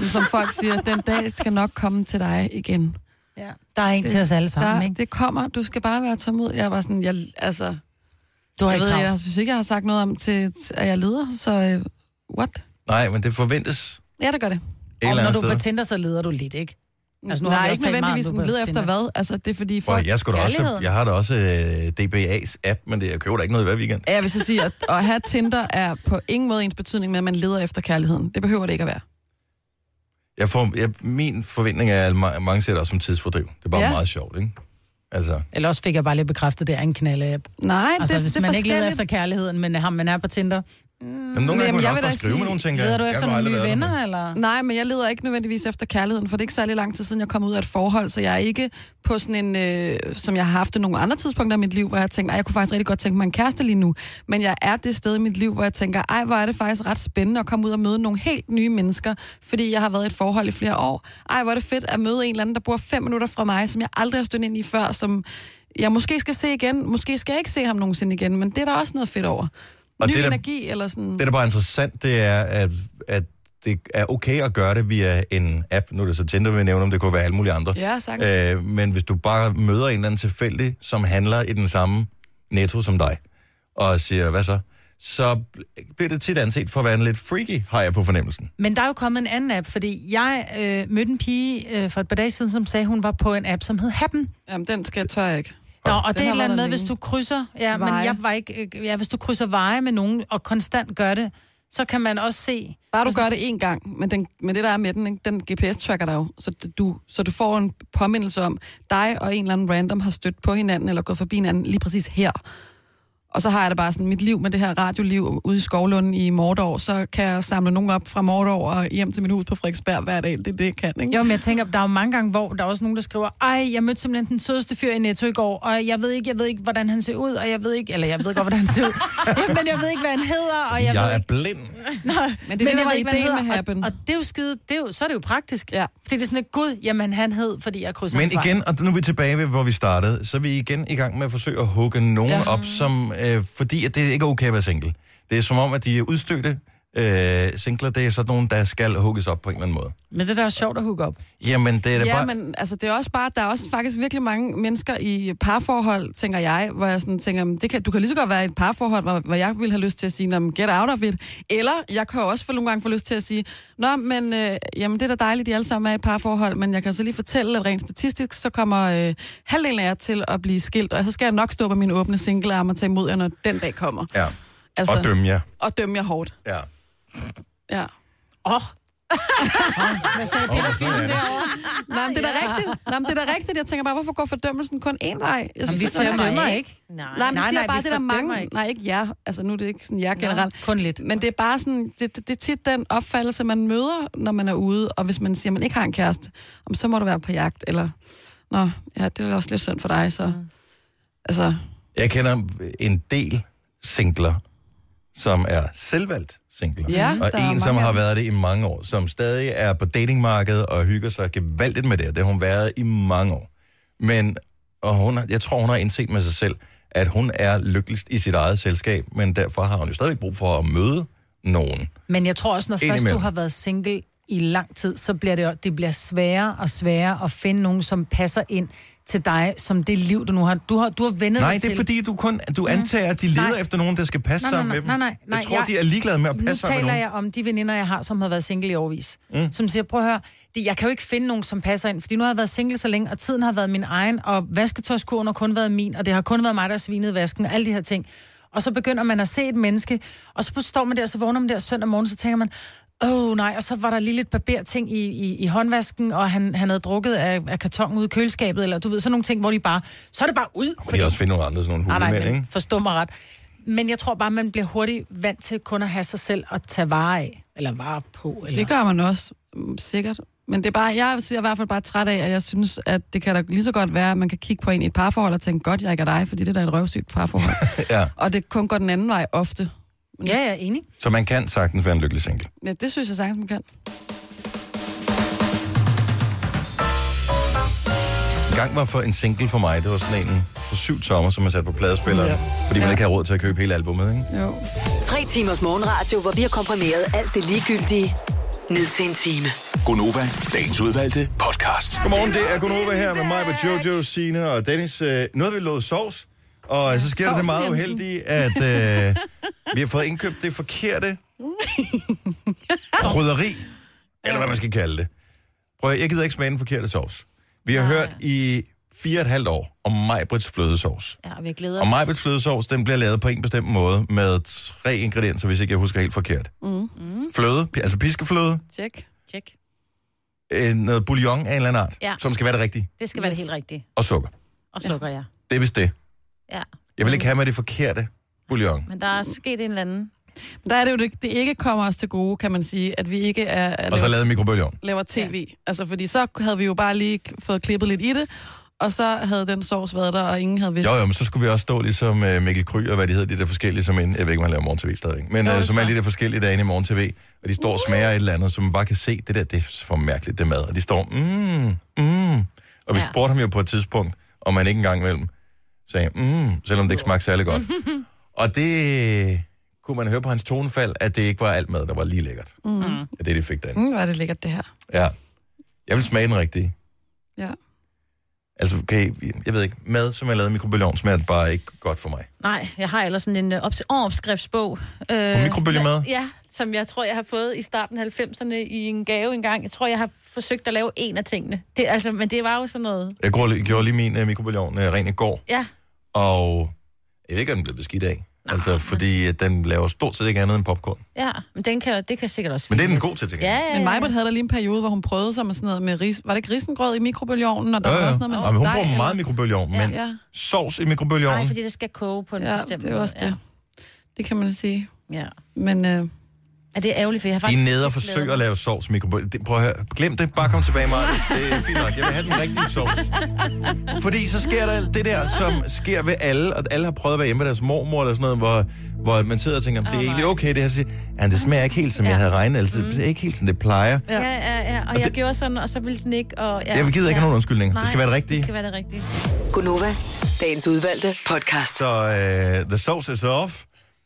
Som folk siger, den dag skal nok komme til dig igen.
ja. der er en til os alle sammen,
Der,
ikke?
det kommer, du skal bare være tålmodig. Jeg var sådan, jeg, altså,
Du har
jeg,
ikke
ved,
travlt.
jeg synes ikke, jeg har sagt noget om, til, til- at jeg leder, så øh, what?
Nej, men det forventes
Ja, det gør det.
Et eller
Og når
andet
du er
sted.
på Tinder, så leder du lidt, ikke? Altså,
Altså,
nu
nu
har
Nej,
vi også
ikke
talt meget om
nødvendigvis
det
sådan,
på
leder efter
Tinder.
hvad. Altså, det er fordi folk...
Prøv, jeg, skulle da også,
kærligheden.
jeg har da også øh, DBA's app, men det, jeg køber da ikke noget hver weekend.
Ja, jeg vil så sige, at at have Tinder er på ingen måde ens betydning med, at man leder efter kærligheden. Det behøver det ikke at være.
Jeg får, jeg, min forventning er, at ma- mange ser det også som tidsfordriv. Det er bare ja.
Ja.
meget sjovt, ikke? Altså,
Eller også fik jeg bare lidt bekræftet, det er en knalde-app.
Nej,
Altså,
det,
hvis
det er
man ikke leder
forskelligt.
efter kærligheden, men ham, man er på Tinder.
men nogle gange
jamen,
kunne
jeg
man også
vil
bare
da
skrive
sige,
med nogle ting.
Leder du efter nogle nye venner, eller?
Nej, men jeg leder ikke nødvendigvis efter kærligheden, for det er ikke særlig lang tid siden, jeg kom ud af et forhold, så jeg er ikke på sådan en, øh, som jeg har haft det nogle andre tidspunkter i mit liv, hvor jeg har tænkt, "Ej, jeg kunne faktisk rigtig godt tænke mig en kæreste lige nu, men jeg er det sted i mit liv, hvor jeg tænker, ej, hvor er det faktisk ret spændende at komme ud og møde nogle helt nye mennesker, fordi jeg har været i et forhold i flere år. Ej, hvor er det fedt at møde en eller anden, der bor fem minutter fra mig, som jeg aldrig har stødt ind i før, som jeg måske skal se igen, måske skal jeg ikke se ham nogensinde igen, men det er der også noget fedt over.
Og
Og Ny
det er
det
da-
energi, eller sådan...
Det, der bare er interessant, det er, at, at det er okay at gøre det via en app. Nu er det så Tinder, vi nævner, om det kunne være alle mulige andre.
Ja, sagtens.
Øh, men hvis du bare møder en eller anden tilfældig, som handler i den samme netto som dig, og siger, hvad så? Så bl- bliver det tit anset for at være en lidt freaky, har jeg på fornemmelsen.
Men der er jo kommet en anden app, fordi jeg øh, mødte en pige øh, for et par dage siden, som sagde, hun var på en app, som hed Happen.
Jamen, den skal jeg tør jeg ikke.
Nå, og det er et
har
eller
været
andet med,
længe.
hvis du krydser... Ja, men
Veje.
jeg var ikke... Øh, ja, hvis du krydser veje med nogen og konstant gør det, så kan man også se...
Bare du gør det én gang, men, den, men det der er med den, ikke, den GPS-tracker dig jo, så d- du, så du får en påmindelse om, dig og en eller anden random har stødt på hinanden, eller gået forbi hinanden lige præcis her. Og så har jeg det bare sådan, mit liv med det her radioliv ude i Skovlunden i Mordor, så kan jeg samle nogen op fra Mordor og hjem til min hus på Frederiksberg hver dag. Det er det, jeg kan, ikke?
Jo, men jeg tænker, der er jo mange gange, hvor der er også nogen, der skriver, ej, jeg mødte simpelthen den sødeste fyr i Netto i går, og jeg ved ikke, jeg ved ikke, hvordan han ser ud, og jeg ved ikke, eller jeg ved godt, hvordan han [LAUGHS] ser ud, ja, men jeg ved ikke, hvad han hedder, og jeg,
Jeg,
ved
jeg er
ikke,
blind.
Men det er det,
men
der
jeg
var
ved ikke, hvad
ideen
han
med
hedder.
Happen.
Og, og, det er jo skide, det er jo, så er det jo praktisk.
Ja.
Fordi det er sådan et gud, jamen han hed, fordi jeg krydser
Men
hans vej.
igen, og nu er vi tilbage ved, hvor vi startede, så er vi igen i gang med at forsøge at hugge nogen ja.
Ja.
op, som, øh, fordi at det ikke er okay at være single. Det er som om, at de er udstødte, Øh, singler, det er sådan nogen, der skal hugges op på en eller anden måde.
Men det der er sjovt at hook op.
Jamen, det er da
Ja,
bare...
men altså, det er også bare, der er også faktisk virkelig mange mennesker i parforhold, tænker jeg, hvor jeg sådan tænker, "Men det kan, du kan lige så godt være i et parforhold, hvor, hvor jeg ville have lyst til at sige, "Nå, men get out of it. Eller jeg kan jo også for nogle gange få lyst til at sige, nå, men øh, jamen, det er da dejligt, at I alle sammen er i et parforhold, men jeg kan så lige fortælle, at rent statistisk, så kommer øh, halvdelen af jer til at blive skilt, og så skal jeg nok stå på mine åbne singlearm og tage imod jer, når den dag kommer.
Ja,
Altså,
og dømme jer.
Og dømme jer hårdt.
Ja.
Ja.
Åh. Oh. Hvad sagde Peter
Åh, sådan er
Fissen
det.
derovre?
Nej, men det er da rigtigt. Nej, men det er da rigtigt. Jeg tænker bare, hvorfor går fordømmelsen kun én vej? Jeg
Jamen,
det
vi
er sådan-
fordømmer ikke.
Nej.
Nej, men nej,
Nej,
siger
nej,
nej, bare,
vi
det er der
fordømmer
mange...
ikke.
Ikke. Nej, ikke jer. Altså, nu er det ikke sådan jer generelt.
Kun lidt.
Men det er bare sådan, det, det, det er tit den opfattelse, man møder, når man er ude. Og hvis man siger, at man ikke har en kæreste, om så må du være på jagt. Eller, nå, ja, det er da også lidt synd for dig,
Mm.
så... Altså,
Jeg kender en del singler, som er selvvalgt singler.
Ja,
og
der er
en, som
mange
har
af dem.
været det i mange år, som stadig er på datingmarkedet og hygger sig gevaldigt med det. og Det har hun været i mange år. Men og hun, har- jeg tror, hun har indset med sig selv, at hun er lykkeligst i sit eget selskab, men derfor har hun jo stadigvæk brug for at møde nogen.
Men jeg tror også, når først
Indimellem.
du har været single i lang tid, så bliver det, jo- det bliver sværere og sværere at finde nogen, som passer ind til dig, som det liv, du nu har. Du har, du har vendet
Nej,
dig
det er
til.
fordi, du kun du antager, at de leder
Nej.
efter nogen, der skal passe
Nej, nej,
sammen
nej,
med dem.
nej, nej, nej,
jeg tror,
jeg-
de er ligeglade med at
nu
passe sammen med nogen.
taler jeg om de veninder, jeg har, som har været single i årvis. Mm. Som siger, prøv at høre, det, jeg kan jo ikke finde nogen, som passer ind, fordi nu har jeg været single så længe, og tiden har været min egen, og vasketøjskurven har kun været min, og det har kun været mig, der har svinet i vasken, og alle de her ting. Og så begynder man at se et menneske, og så står man der, så vågner man der søndag morgen, så tænker man, åh oh, nej, og så var der lige lidt barberting i, i, i håndvasken, og han, han havde drukket af, af kartongen ud i køleskabet, eller du ved, sådan nogle ting, hvor de bare, så er det bare ud.
Fordi... De også finde nogle andre, sådan nogle
Ah, Nej, nej,
hulemænd, ikke?
men forstå mig ret. Men jeg tror bare, man bliver hurtigt vant til kun at have sig selv at tage vare af. Eller vare på. Eller...
det gør man også, mm, sikkert. Men det er bare, jeg, jeg er i hvert fald bare træt af, at jeg synes, at det kan da lige så godt være, at man kan kigge på en i et parforhold og tænke, godt, jeg ikke er dig, fordi det der er da et røvsygt
[LAUGHS]
parforhold.
Ja.
og det kun går den anden vej ofte.
Ja, jeg er enig.
Så man kan sagtens være en lykkelig single.
Ja, det synes jeg sagtens, man kan.
En gang var for en single for mig, det var sådan en på syv tommer, som man satte på pladespilleren, ja. fordi man
Ja.
ikke havde råd til at købe hele albumet, ikke?
Jo.
Tre timers morgenradio, hvor vi har komprimeret alt det ligegyldige ned til en time.
Gonova, dagens udvalgte podcast.
Godmorgen, det er Gunova her med mig, med Jojo, Sine og Dennis. Øh, Nu har vi lovet sovs, og så sker der det
sovsen,
meget
Jensen.
uheldige, at
[LAUGHS]
øh, vi har fået indkøbt det forkerte krydderi, eller hvad man skal kalde det. Prøv at høre, jeg gider ikke smage den forkerte sovs. Vi har hørt i fire og et halvt år om Majbrits flødesovs.
Ja, vi glæder
Og
os.
Majbets flødesovs, den bliver lavet på en bestemt måde med tre ingredienser, hvis ikke jeg husker helt forkert. Mm. Fløde, pi- altså piskefløde,
Tjek.
Check.
øh, noget bouillon af en eller anden art,
Ja.
som skal være det rigtige,
Det skal være det
Yes.
helt rigtige.
og sukker.
Og sukker, ja.
Det er vist det.
Ja.
Jeg vil ikke have med det forkerte bouillon.
Men der er sket en eller anden.
Der er det jo, det, det ikke kommer os til gode, kan man sige, at vi ikke er, er
Og så
laver,
lavet mikrobølgeovn.
laver tv. Ja. Altså, fordi så havde vi jo bare lige k- fået klippet lidt i det, og så havde den sovs været der, og ingen havde vidst.
Jo, jo, men så skulle vi også stå ligesom øh, Mikkel Kry og hvad de hedder, de der forskellige, som en, jeg ved ikke, om han laver morgen-tv stadig, men
Jo,
øh,
det
som er
tror
de
jeg.
der forskellige derinde i morgen-tv, og de står og smager et eller andet, så man bare kan se, det der, det er for mærkeligt, det mad, og de står, mm, mm, og vi
Ja.
spurgte ham jo på et tidspunkt, om man ikke engang imellem sagde, mm, selvom det ikke smagte særlig
[LAUGHS]
godt. og det kunne man høre på hans tonefald, at det ikke var alt mad, der var lige lækkert. Mm. Ja, det er det, de fik derinde.
Mm, var det lækkert, det her.
Ja. Jeg vil smage den rigtige.
Ja.
Altså, okay, jeg ved ikke, mad, som er lavet i mikrobølgeovn, smager bare ikke godt for mig.
Nej, jeg har ellers sådan en øh, ops- opskriftsbog. Øh,
På mikrobølgemad?
Ja, som jeg tror, jeg har fået i starten af 90'erne i en gave engang. Jeg tror, jeg har forsøgt at lave en af tingene. Det, altså, men det var jo sådan noget...
Jeg gjorde- gjorde lige min uh, mikrobølgeovn uh, ren i går,
Ja,
og jeg ved ikke, om den blev beskidt af. altså, fordi at den laver stort set ikke andet end popcorn.
ja. Men den kan, jo- det kan sikkert også
Men det er den
findes.
god til, til
Ja,
gengæld.
ja,
Men
ja.
Majbert havde der lige en periode, hvor hun prøvede sig med sådan noget med ris. Var det ikke risengrød i mikrobølgeovnen, og der
Ja,
var
ja.
også noget med
Og hun
steg,
bruger meget
eller-
mikrobølgeovn, men
Ja,
sovs i
Nej,
mikrobølgeovnen,
fordi det skal koge på en
ja
bestemt
det er
måde.
også det. Det kan man sige.
Ja. ja.
Men øh,
Er det ærgerligt, for jeg har faktisk...
de er nede og
ikke
forsøger
lavet
at lave sovs i mikrobølgeovnen. Det- Prøv at høre, glem det, bare kom tilbage, Marcus. Det er fint nok, jeg vil have den rigtige sovs. Fordi så sker der det der, som sker ved alle, og alle har prøvet at være hjemme med deres mormor eller sådan noget, hvor, hvor man sidder og tænker, det er egentlig okay, det her. Så siger, ja, det smager ikke helt, som ja. jeg havde regnet, altså, det er ikke helt, som det plejer.
den. Ja, ja, ja. Og, jeg
det-
gjorde sådan, og så ville den ikke, og... Ja,
Jeg gider ikke
ja.
have nogen undskyldninger.
Nej,
Det skal være det
Det
rigtige.
skal være det rigtige.
Gunova, dagens udvalgte podcast.
Så uh, the øh, sauce is off.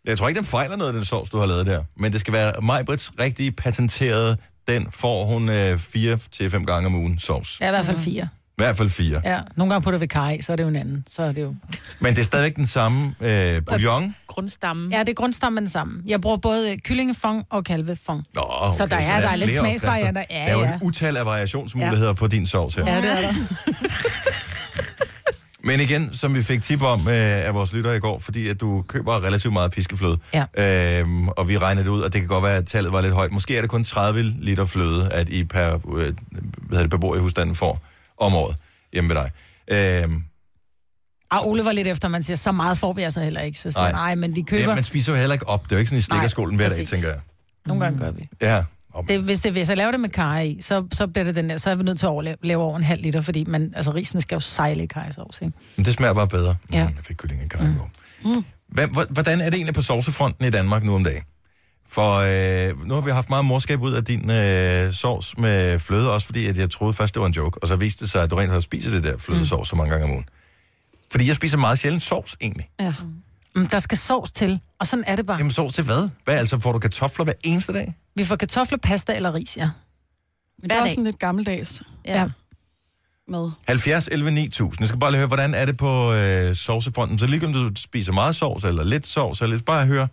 Jeg tror ikke, den fejler noget, den sovs, du har lavet der. Men det skal være Majbrits rigtige patenterede, den får hun øh, fire til fem gange om ugen sovs.
Ja, i hvert fald fire.
I hvert fald fire.
Ja. Nogle gange putter vi kar i, så er det jo en anden. Så er det jo...
Men det er stadigvæk den samme øh, bouillon.
Grundstammen.
Ja, det er grundstammen den samme. Jeg bruger både kyllingefong og kalvefong.
Nå, okay,
Så der er- der er lidt
flere
smagsvarianter.
opskrifter.
Ja,
der er jo
ja.
et utal af variationsmuligheder ja. på din sovs her. Ja.
det er der.
Men igen, som vi fik tip om øh, af vores lyttere i går, fordi at du køber relativt meget piskefløde, øhm, og vi regnede det ud, og det kan godt være, at tallet var lidt højt. Måske er det kun 30 liter fløde, at I per, øh, hvad hedder det, beboer i husstanden får om året hjemme ved dig. Øhm,
Og Ole var lidt efter, man siger, så meget får vi altså heller ikke. Så siger
Nej.
nej, nej men vi køber.
ja, man spiser jo heller ikke op. Det er jo ikke sådan, I
Nej,
slikker skålen hver dag,
præcis.
tænker jeg.
Nogle gange gør vi.
Ja. Om,
Det, hvis, det, hvis jeg laver det med kaj i, så, så bliver det den der, så er vi nødt til at overlave, lave over en halv liter, fordi man, altså, risen skal jo sejle i kajsovs, ikke?
Men det smager bare bedre.
Ja.
Mm, jeg fik kylling i mm. Hvem, hvor- Hvordan er det egentlig på sovsefronten i Danmark nu om dagen? For øh, nu har vi haft meget morskab ud af din øh, sovs med fløde, også fordi at jeg troede først, det var en joke, og så viste det sig, at du rent har spist det der flødesovs mm. så mange gange om ugen. Fordi jeg spiser meget sjældent sovs, egentlig.
Ja.
Mm, der skal sovs til, og sådan er det bare.
Jamen sovs til hvad? Hvad altså, får du kartofler hver eneste dag?
Vi får kartofler, pasta eller ris, ja.
Men det er
Hver
også
dag.
sådan lidt gammeldags
Ja.
med.
70, 11, 9000. Jeg skal bare lige høre, hvordan er det på øh, sovsefronten? Så lige om du spiser meget sovs, eller lidt sovs, eller lidt, bare høre,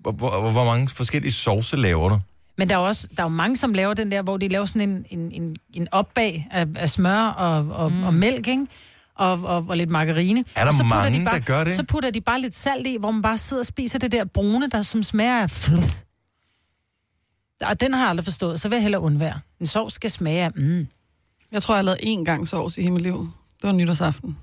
hvor, hvor, hvor mange forskellige sovse laver du?
Men der er, jo også, der er jo mange, som laver den der, hvor de laver sådan en, en, en, en opbag af, af smør og, og, mm. og mælk, ikke? Og, og, og lidt margarine.
Er der
og så putter
mange,
de bare,
der gør det?
Så putter de bare lidt salt i, hvor man bare sidder og spiser det der brune, der som smager af flød. Og den har jeg aldrig forstået, så vil jeg hellere undvære. En sovs skal smage af, mm.
Jeg tror, jeg har lavet én gang sovs i hele mit liv. Det var nytårsaften.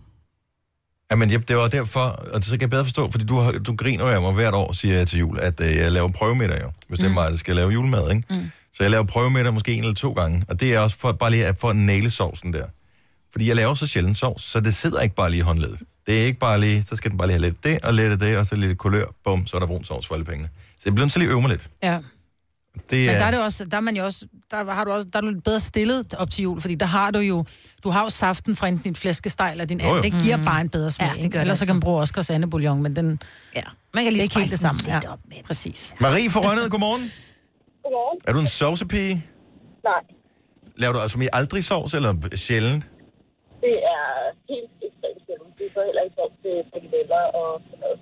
Jamen, jeg, det var derfor, og så kan jeg bedre forstå, fordi du, har- du griner jo af mig hvert år, siger jeg til jul, at øh, jeg laver prøvemiddag jo, hvis mm. det er mig, der skal lave julemad, ikke? Mm. Så jeg laver prøvemiddag måske en eller to gange, og det er også for, bare lige at få næle sovsen der. Fordi jeg laver så sjældent sovs, så det sidder ikke bare lige i håndledet. Det er ikke bare lige, så skal den bare lige have lidt det, og lidt af det, og så lidt kolør, bum, så er der brun sovs for alle pengene. Så jeg bliver nødt til lige at øve mig lidt.
Ja.
Det
Men
er,
der er det også, der er man jo også, der har du også, der er du lidt bedre stillet op til jul, fordi der har du jo, du har jo saften fra enten din flæskesteg eller din
Jo, jo.
and. Det giver bare en bedre smag.
Mm. Ja, det
ikke?
gør det
Ellers så
altså.
kan man bruge Oscars andet bouillon, men den,
ja. Man kan
det er
lige
ikke helt det samme.
Ja. Op med. det.
præcis.
Marie fra Rønnet, godmorgen.
Godmorgen.
Er du en sovsepige?
Nej,
Laver du altså aldrig sovs, eller sjældent?
det er helt ekstremt sjældent. Det er så heller ikke sovs til frikadeller og sådan noget.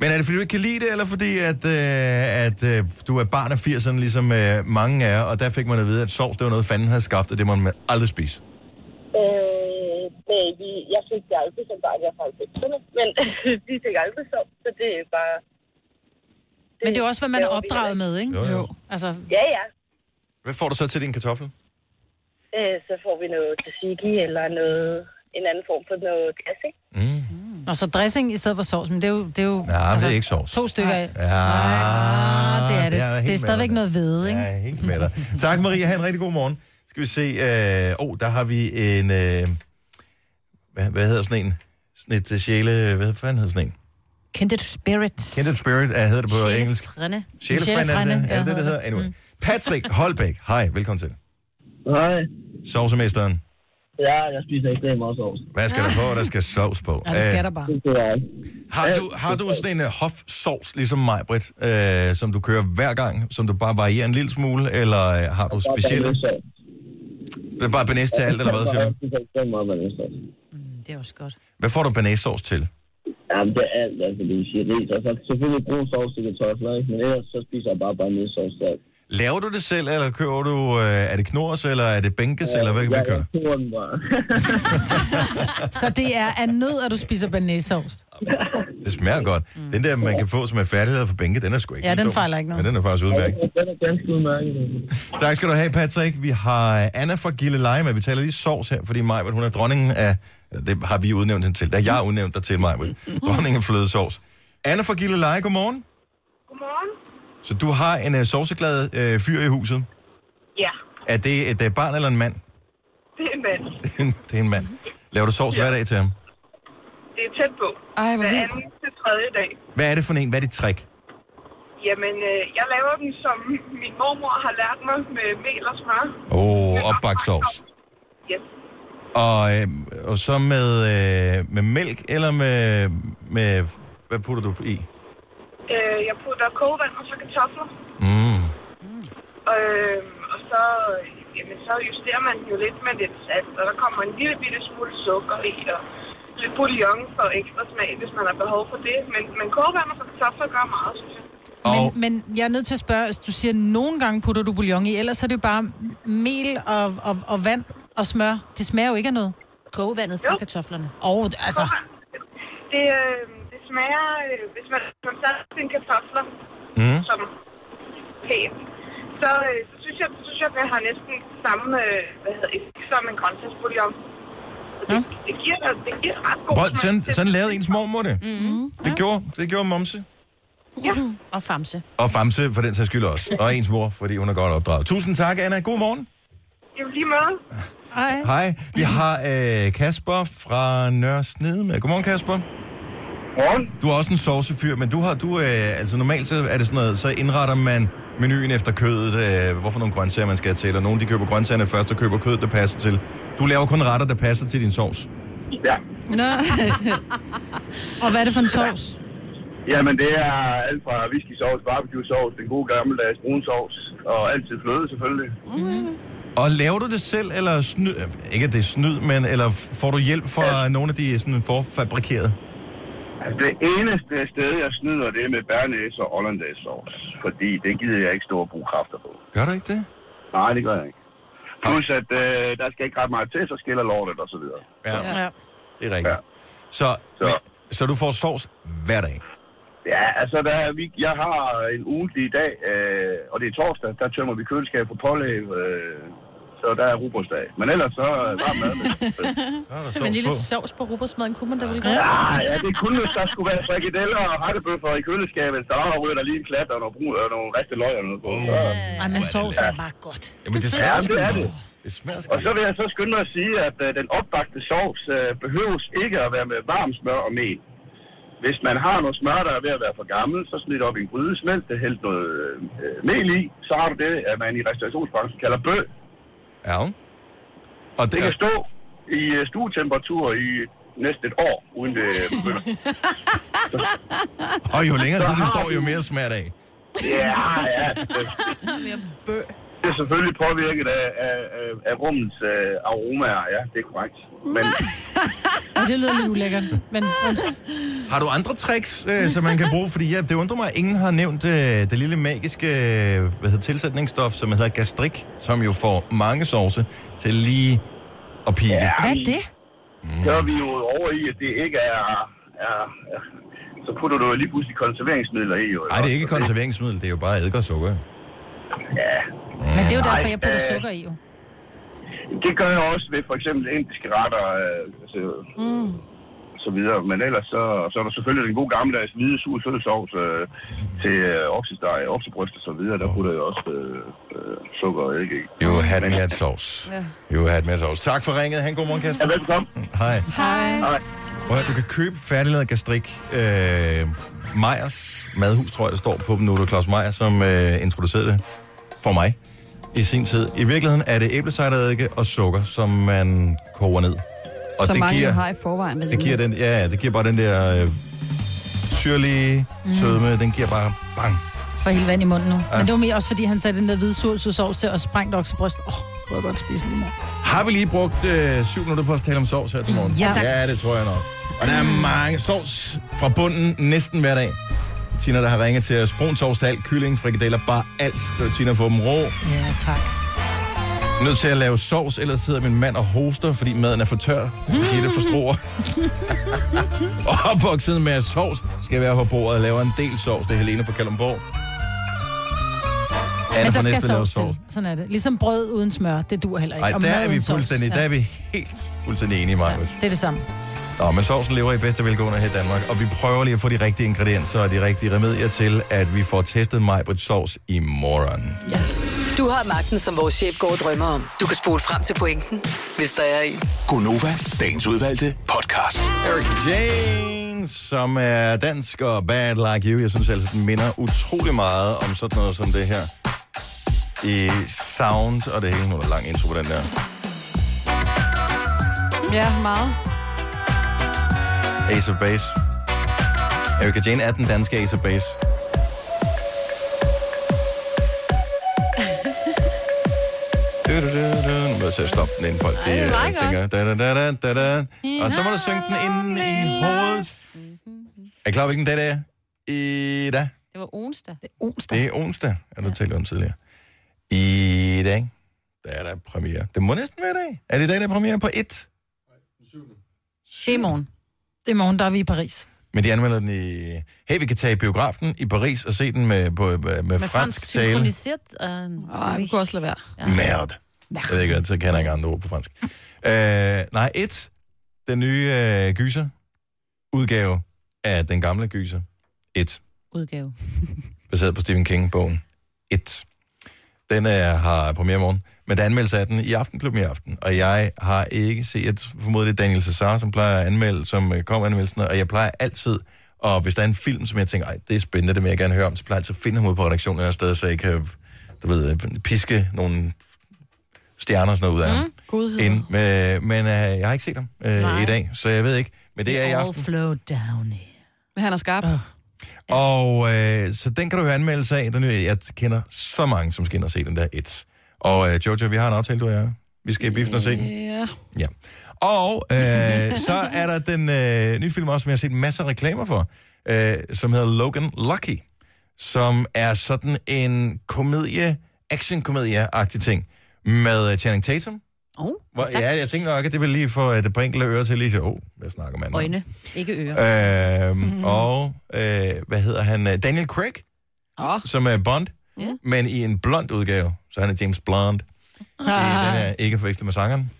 Men er det, fordi du ikke kan lide det, eller fordi, at, øh, at øh, du er barn af 80'erne, ligesom øh, mange er, og der fik man at vide, at sovs, det var noget, fanden havde skabt, og det må man aldrig spise.
Øh, nej, vi, jeg fik det aldrig som barn, jeg er fra 90'erne, men [LAUGHS] vi fik aldrig sovs, så det er bare...
Men det er jo også, hvad man er
laver vi heller
opdraget
ikke.
med, ikke?
Jo, jo.
Altså,
Ja, ja.
Hvad får du så til din kartoffel?
Øh, så får vi noget tzatziki eller noget, en anden form for noget glas, ikke?
og så dressing i stedet for sovs, men det er jo... Det er jo
Nej,
altså,
det er ikke sovs.
To stykker af.
Ja, ah,
det er det. Det er stadigvæk noget hvede, ikke?
Ja, jeg er helt med dig. Tak, Maria. Ha' en rigtig god morgen. Skal vi se. Åh, øh, oh, der har vi en... Øh, hvad, hvad hedder sådan en? Sådan et øh, sjæle... Hvad fanden hedder sådan en?
Kindred spirits.
Kindred Spirit er, hedder det på
Sjælefrænde.
engelsk. Sjælefrænde, er
Sjælefrænde,
det det?
ja,
Er det det, Mm. det hedder?
hedder det.
Anyway. Patrick Holbæk. Hej, velkommen til.
Nej,
Sovsemesteren.
ja, jeg spiser ekstremt meget sovs.
Hvad skal der på, og der skal sovs på?
Ja, det
Øh,
skal der bare.
Det er ikke.
har, du, har du sådan en uh, hofsovs, ligesom mig, Britt, øh, som du kører hver gang, som du bare varierer en lille smule, eller øh, har du specielle? Det er bare banæs til alt, eller hvad siger du?
spiser ekstremt meget banæssovs.
Det er også godt.
Hvad får du banæssovs til?
Jamen, det er alt, altså, det vil sige ris. Og så selvfølgelig brun sovs til kartofler, ikke? Men ellers så spiser jeg bare banæssovs til alt.
Laver du det selv, eller kører du, øh, er det knors, eller er det bænkes, eller hvad,
jeg,
hvad kører du?
jeg tror den bare.
Så det er af nød, at du spiser banæssovs.
Det smager godt. Den der, man kan få som er færdighed for bænke, den er sgu ikke
Ja,
helt
den
dum.
fejler ikke noget.
Men den er faktisk
[LAUGHS]
udmærket.
den er ganske udmærket.
Tak skal du have, Patrick. Vi har øh, Anna fra Gilleleje med. Vi taler lige sovs her, fordi Majbert, hun er dronningen af... Det har vi udnævnt hende til. Da jeg udnævnt dig til, Majbert. Dronningen af flødesovs. Anna fra Gilleleje, godmorgen.
Godmorgen.
Så du har en uh, sovseglad uh, fyr i huset.
Ja,
Er det et uh, barn eller en mand? [LAUGHS]
det er en mand.
det er en mand. Laver du sovs ja. hver dag til ham?
Det er tæt på.
Ej, hvor
Hver
vildt.
anden til tredje dag.
Hvad er det for en? Hvad er dit trick?
Jamen, øh, jeg laver dem, som min mormor har lært mig med mel og smør.
Åh, oh, opbagt sovs.
Yes.
Og, øh, og så med, øh, med mælk, eller med, med... Hvad putter du i?
Øh, Øh, jeg putter kogevand og så kartofler.
Mm.
Øh, og så, øh, jamen, så justerer man den jo lidt med lidt salt, og der kommer en lille bitte smule sukker i, og lidt bouillon for ekstra smag, hvis man har behov for det. Men, men kogevand og så kartofler gør meget, synes jeg.
Og,
Men, men jeg er nødt til at spørge, altså, du siger, at nogle gange putter du bouillon i, ellers er det jo bare mel og, og, og vand og smør. Det smager jo ikke af noget.
Kogevandet fra kartoflerne.
Åh, oh, altså,
Det, øh, det smager, øh, hvis man hvis man satte sine kartofler
mm,
som pænt, så, øh, så synes jeg, så synes jeg, at jeg har næsten samme, øh, hvad hedder det, som en grøntsagsbouillon. Så Det, det, giver, det giver ret god
prøv,
smag.
sådan, sådan lavede ens mormor det. Mm. Det gjorde, det gjorde momse.
Og famse.
Og Famse for den sags skyld også. Og ens mor, fordi hun er godt opdraget. Tusind tak, Anna. God morgen.
Jamen lige måde.
Hej. Vi har øh, Kasper fra Nørre Snede med. Godmorgen, Kasper.
Morgen.
Du er også en saucefyr, men du har du øh, altså normalt så er det sådan noget, så indretter man menuen efter kødet, øh, hvorfor nogle grøntsager man skal have til, og nogle de køber grøntsagerne først og køber kødet, der passer til. Du laver kun retter, der passer til din sovs.
Ja.
Nå.
[LAUGHS] og hvad er det for en sovs?
Jamen, det er alt fra whisky sovs, barbecue sovs, den gode gammeldags brun sovs, og altid fløde selvfølgelig.
Og laver du det selv, eller snyd, øh, ikke at det er snyd, men eller får du hjælp fra ja. nogle af de øh, sådan forfabrikerede?
Altså, det eneste sted, jeg snyder, det er med bærnæs og hollandaise sovs, fordi det gider jeg ikke stå og bruge kræfter på.
Gør du ikke det?
Nej, det gør jeg ikke. Plus, at øh, der skal ikke ret meget til, så skiller lortet og så videre.
Ja,
Ja.
det er rigtigt. Ja.
Ja.
Så,
Så.
så. Men, så du får sovs hver dag?
Ja, altså, der er, vi, jeg har en ugentlig dag, øh, og det er torsdag, der tømmer vi køleskab på pålæg, øh, så der er rubrosdag. Men ellers så øh, varm mad. med-
Så er der
Men en
sovs
lille
på.
sovs på rugbrødsmaden kunne man da vel gøre.
Ja, ja, det er kun, hvis der skulle være frikadeller og rettebøffer i køleskabet, så der ryger der lige en klat og nogle, brun, og nogle riste løg eller noget på. Så,
Ej, men sovs er bare godt.
Jamen, det
Ja,
smager
det er
sgu-
det.
Det smager
og
sgu-
så vil jeg så skynde mig at sige, at øh, den opbagte sovs øh, behøves ikke at være med varm smør og mel. Hvis man har noget smør, der er ved at være for gammel, så snit op i en gryde, smelt det, hæld noget øh, mel i, så har du det, at man i restaurationsbranchen kalder bø.
Ja. Og
Det
det,
kan stå i øh, stuetemperatur i næsten et år, uden det øh, begynder.
og jo længere tid det
har
står,
vi-
jo mere smager det af.
Ja, ja. det- Det er selvfølgelig påvirket af, af, af, af rummets øh, aromaer, ja, det er korrekt. Men
Og det lyder lidt ulækkert. Men undskyld.
Har du andre tricks, øh, som man kan bruge? Fordi ja, det undrer mig, at ingen har nævnt øh, det lille magiske øh, hvad hedder, tilsætningsstof, som hedder gastrik, som jo får mange sovse til lige at pike. Ja.
Hvad er det?
så er vi jo over i, at det ikke er... er, er så putter du jo lige pludselig konserveringsmidler i. Jo,
Nej, det er ikke konserveringsmiddel, det er jo bare eddike og sukker.
Ja,
Men det er jo derfor, jeg putter
øh,
sukker i jo.
det gør jeg også ved for eksempel indiske retter øh, altså, mm. og så videre. Men ellers så, så er der selvfølgelig den gode gammeldags hvide sur sødsovs øh, til øh, oksesteg, oksebryst og så videre. Der putter jeg også øh, øh, sukker og ikke i.
You had me at sauce.
Ja.
You had me at sauce. Tak for ringet. Han god morgen, Kasper.
Ja, velkommen.
Hej.
Hej.
Prøv at, høre, du kan købe færdiglavet gastrik. Øh, Meyers madhus, tror jeg, der står på dem nu. Det var Claus Meyer, som øh, introducerede det for mig i sin tid. I virkeligheden er det æblecidereddike og sukker, som man koger ned. Og
Så
det
mange
giver,
giver, har i forvejen
det giver den, ja, ja, det giver bare den der øh, syrlige
Mm.
sødme. Den giver bare bang.
For hele vand i munden nu. Men det var mere også, fordi han satte den der hvide sursødsovs til og sprængte oksebryst. Åh, oh, kunne jeg godt spise lige nu.
Har vi lige brugt øh, syv minutter på at tale om sovs her til morgen?
Ja, Mm. tak.
ja, det tror jeg nok. Og der er mange sovs fra bunden næsten hver dag. Tina, der har ringet til os. Brun sovs til alt, kylling, frikadeller, bare alt. Det var Tina får dem rå.
Ja, tak.
Nødt til at lave sovs, ellers sidder min mand og hoster, fordi maden er for tør. Gitte forstår.
[LAUGHS]
og opvokset med at sovs skal være på bordet og laver en del sovs. Det er Helene fra Kalundborg. Anna
Men der
fra
skal
Næstved laver
sovs
sovs.
til. Sådan er det. Ligesom brød uden smør, det dur heller ikke.
Nej,
Og
der
mad
er vi
uden sovs.
fuldstændig, der er vi helt fuldstændig enige, Magnus.
Det er det samme.
Nå, men sovsen lever i bedste velgående her i Danmark, og vi prøver lige at få de rigtige ingredienser og de rigtige remedier til, at vi får testet mig på sovs i morgen.
Du har magten, som vores chef går og drømmer om. Du kan spole frem til pointen, hvis der er en.
Gonova, dagens udvalgte podcast.
Eric James, som er dansk og bad like you. Jeg synes altså, den minder utrolig meget om sådan noget som det her. I sound og det hele. Nu er der lang intro på den der.
Ja, meget.
[LAUGHS]
Ace of Base. Erika Jane er den danske Ace of Base. været til at stoppe den, inden folk de,
det er meget
øh, tænker... Da, da, da, da, da, da. Og så må du synge den inden i hovedet.
Mhm.
Er I klar, over, hvilken dag det er? I dag.
Det var onsdag.
Onsdag.
Det er onsdag, er du ja. talt om tidligere. I dag, der er der premiere. Det må næsten være i dag. Er det i dag, der er premiere på 1?
Det er i morgen.
Det er morgen, der er vi i Paris.
Men de anmelder den i... Hey, vi kan tage i biografen i Paris og se den med, på, med, med fransk tale.
synkroniseret. Øh,
Ej, vi kunne også lade være.
Merde. Jeg ved ikke, hvad, så kan jeg ikke andre ord på fransk. øh, nej, et. Den nye øh, gyser. Udgave af den gamle gyser. Et.
udgave.
Baseret på Stephen King-bogen. Et. Den er, har premiere i morgen. Men der er anmeldelse af den i Aftenklubben i aften. Og jeg har ikke set... Jeg formoder, det er Daniel Cesar, som plejer at anmelde, som øh, kommer med anmeldelsen. Og jeg plejer altid... Og hvis der er en film, som jeg tænker, Ej, det er spændende, det vil jeg gerne høre om, så plejer jeg altid at finde ham ude på redaktionen et eller andet sted, så jeg kan du ved, øh, piske nogle stjerner og sådan noget ud af ham. Mm.
Godhed.
Ind, øh, men øh, jeg har ikke set ham øh, i dag, så jeg ved ikke. Men det er i
All
aften.
flow down
Men han er skarp.
Og øh, så den kan du høre anmeldelse af. Den, nye- jeg kender så mange, som skal ind og se den der et. Og øh, Jojo, vi har en aftale, du og jeg. Vi skal i biffen og se den.
Ja.
Ja. Og øh, så er der den øh, nye film også, som jeg har set masser af reklamer for, øh, som hedder Logan Lucky, som er sådan en komedie, action-komedie-agtig ting, med øh, Channing Tatum.
Oh,
Hvor, ja, jeg tænker nok, at det vil lige få et par enkelte ører til lige så, åh, oh, hvad snakker man om?
Øjne, ikke ører. Mhm.
Øhm, Og, øh, hvad hedder han? øh, Daniel Craig,
Åh,
som er Bond, yeah. men i en blond udgave. Så han er James Blond. Ah.
[LAUGHS]
Den er ikke forvekslet med sangeren.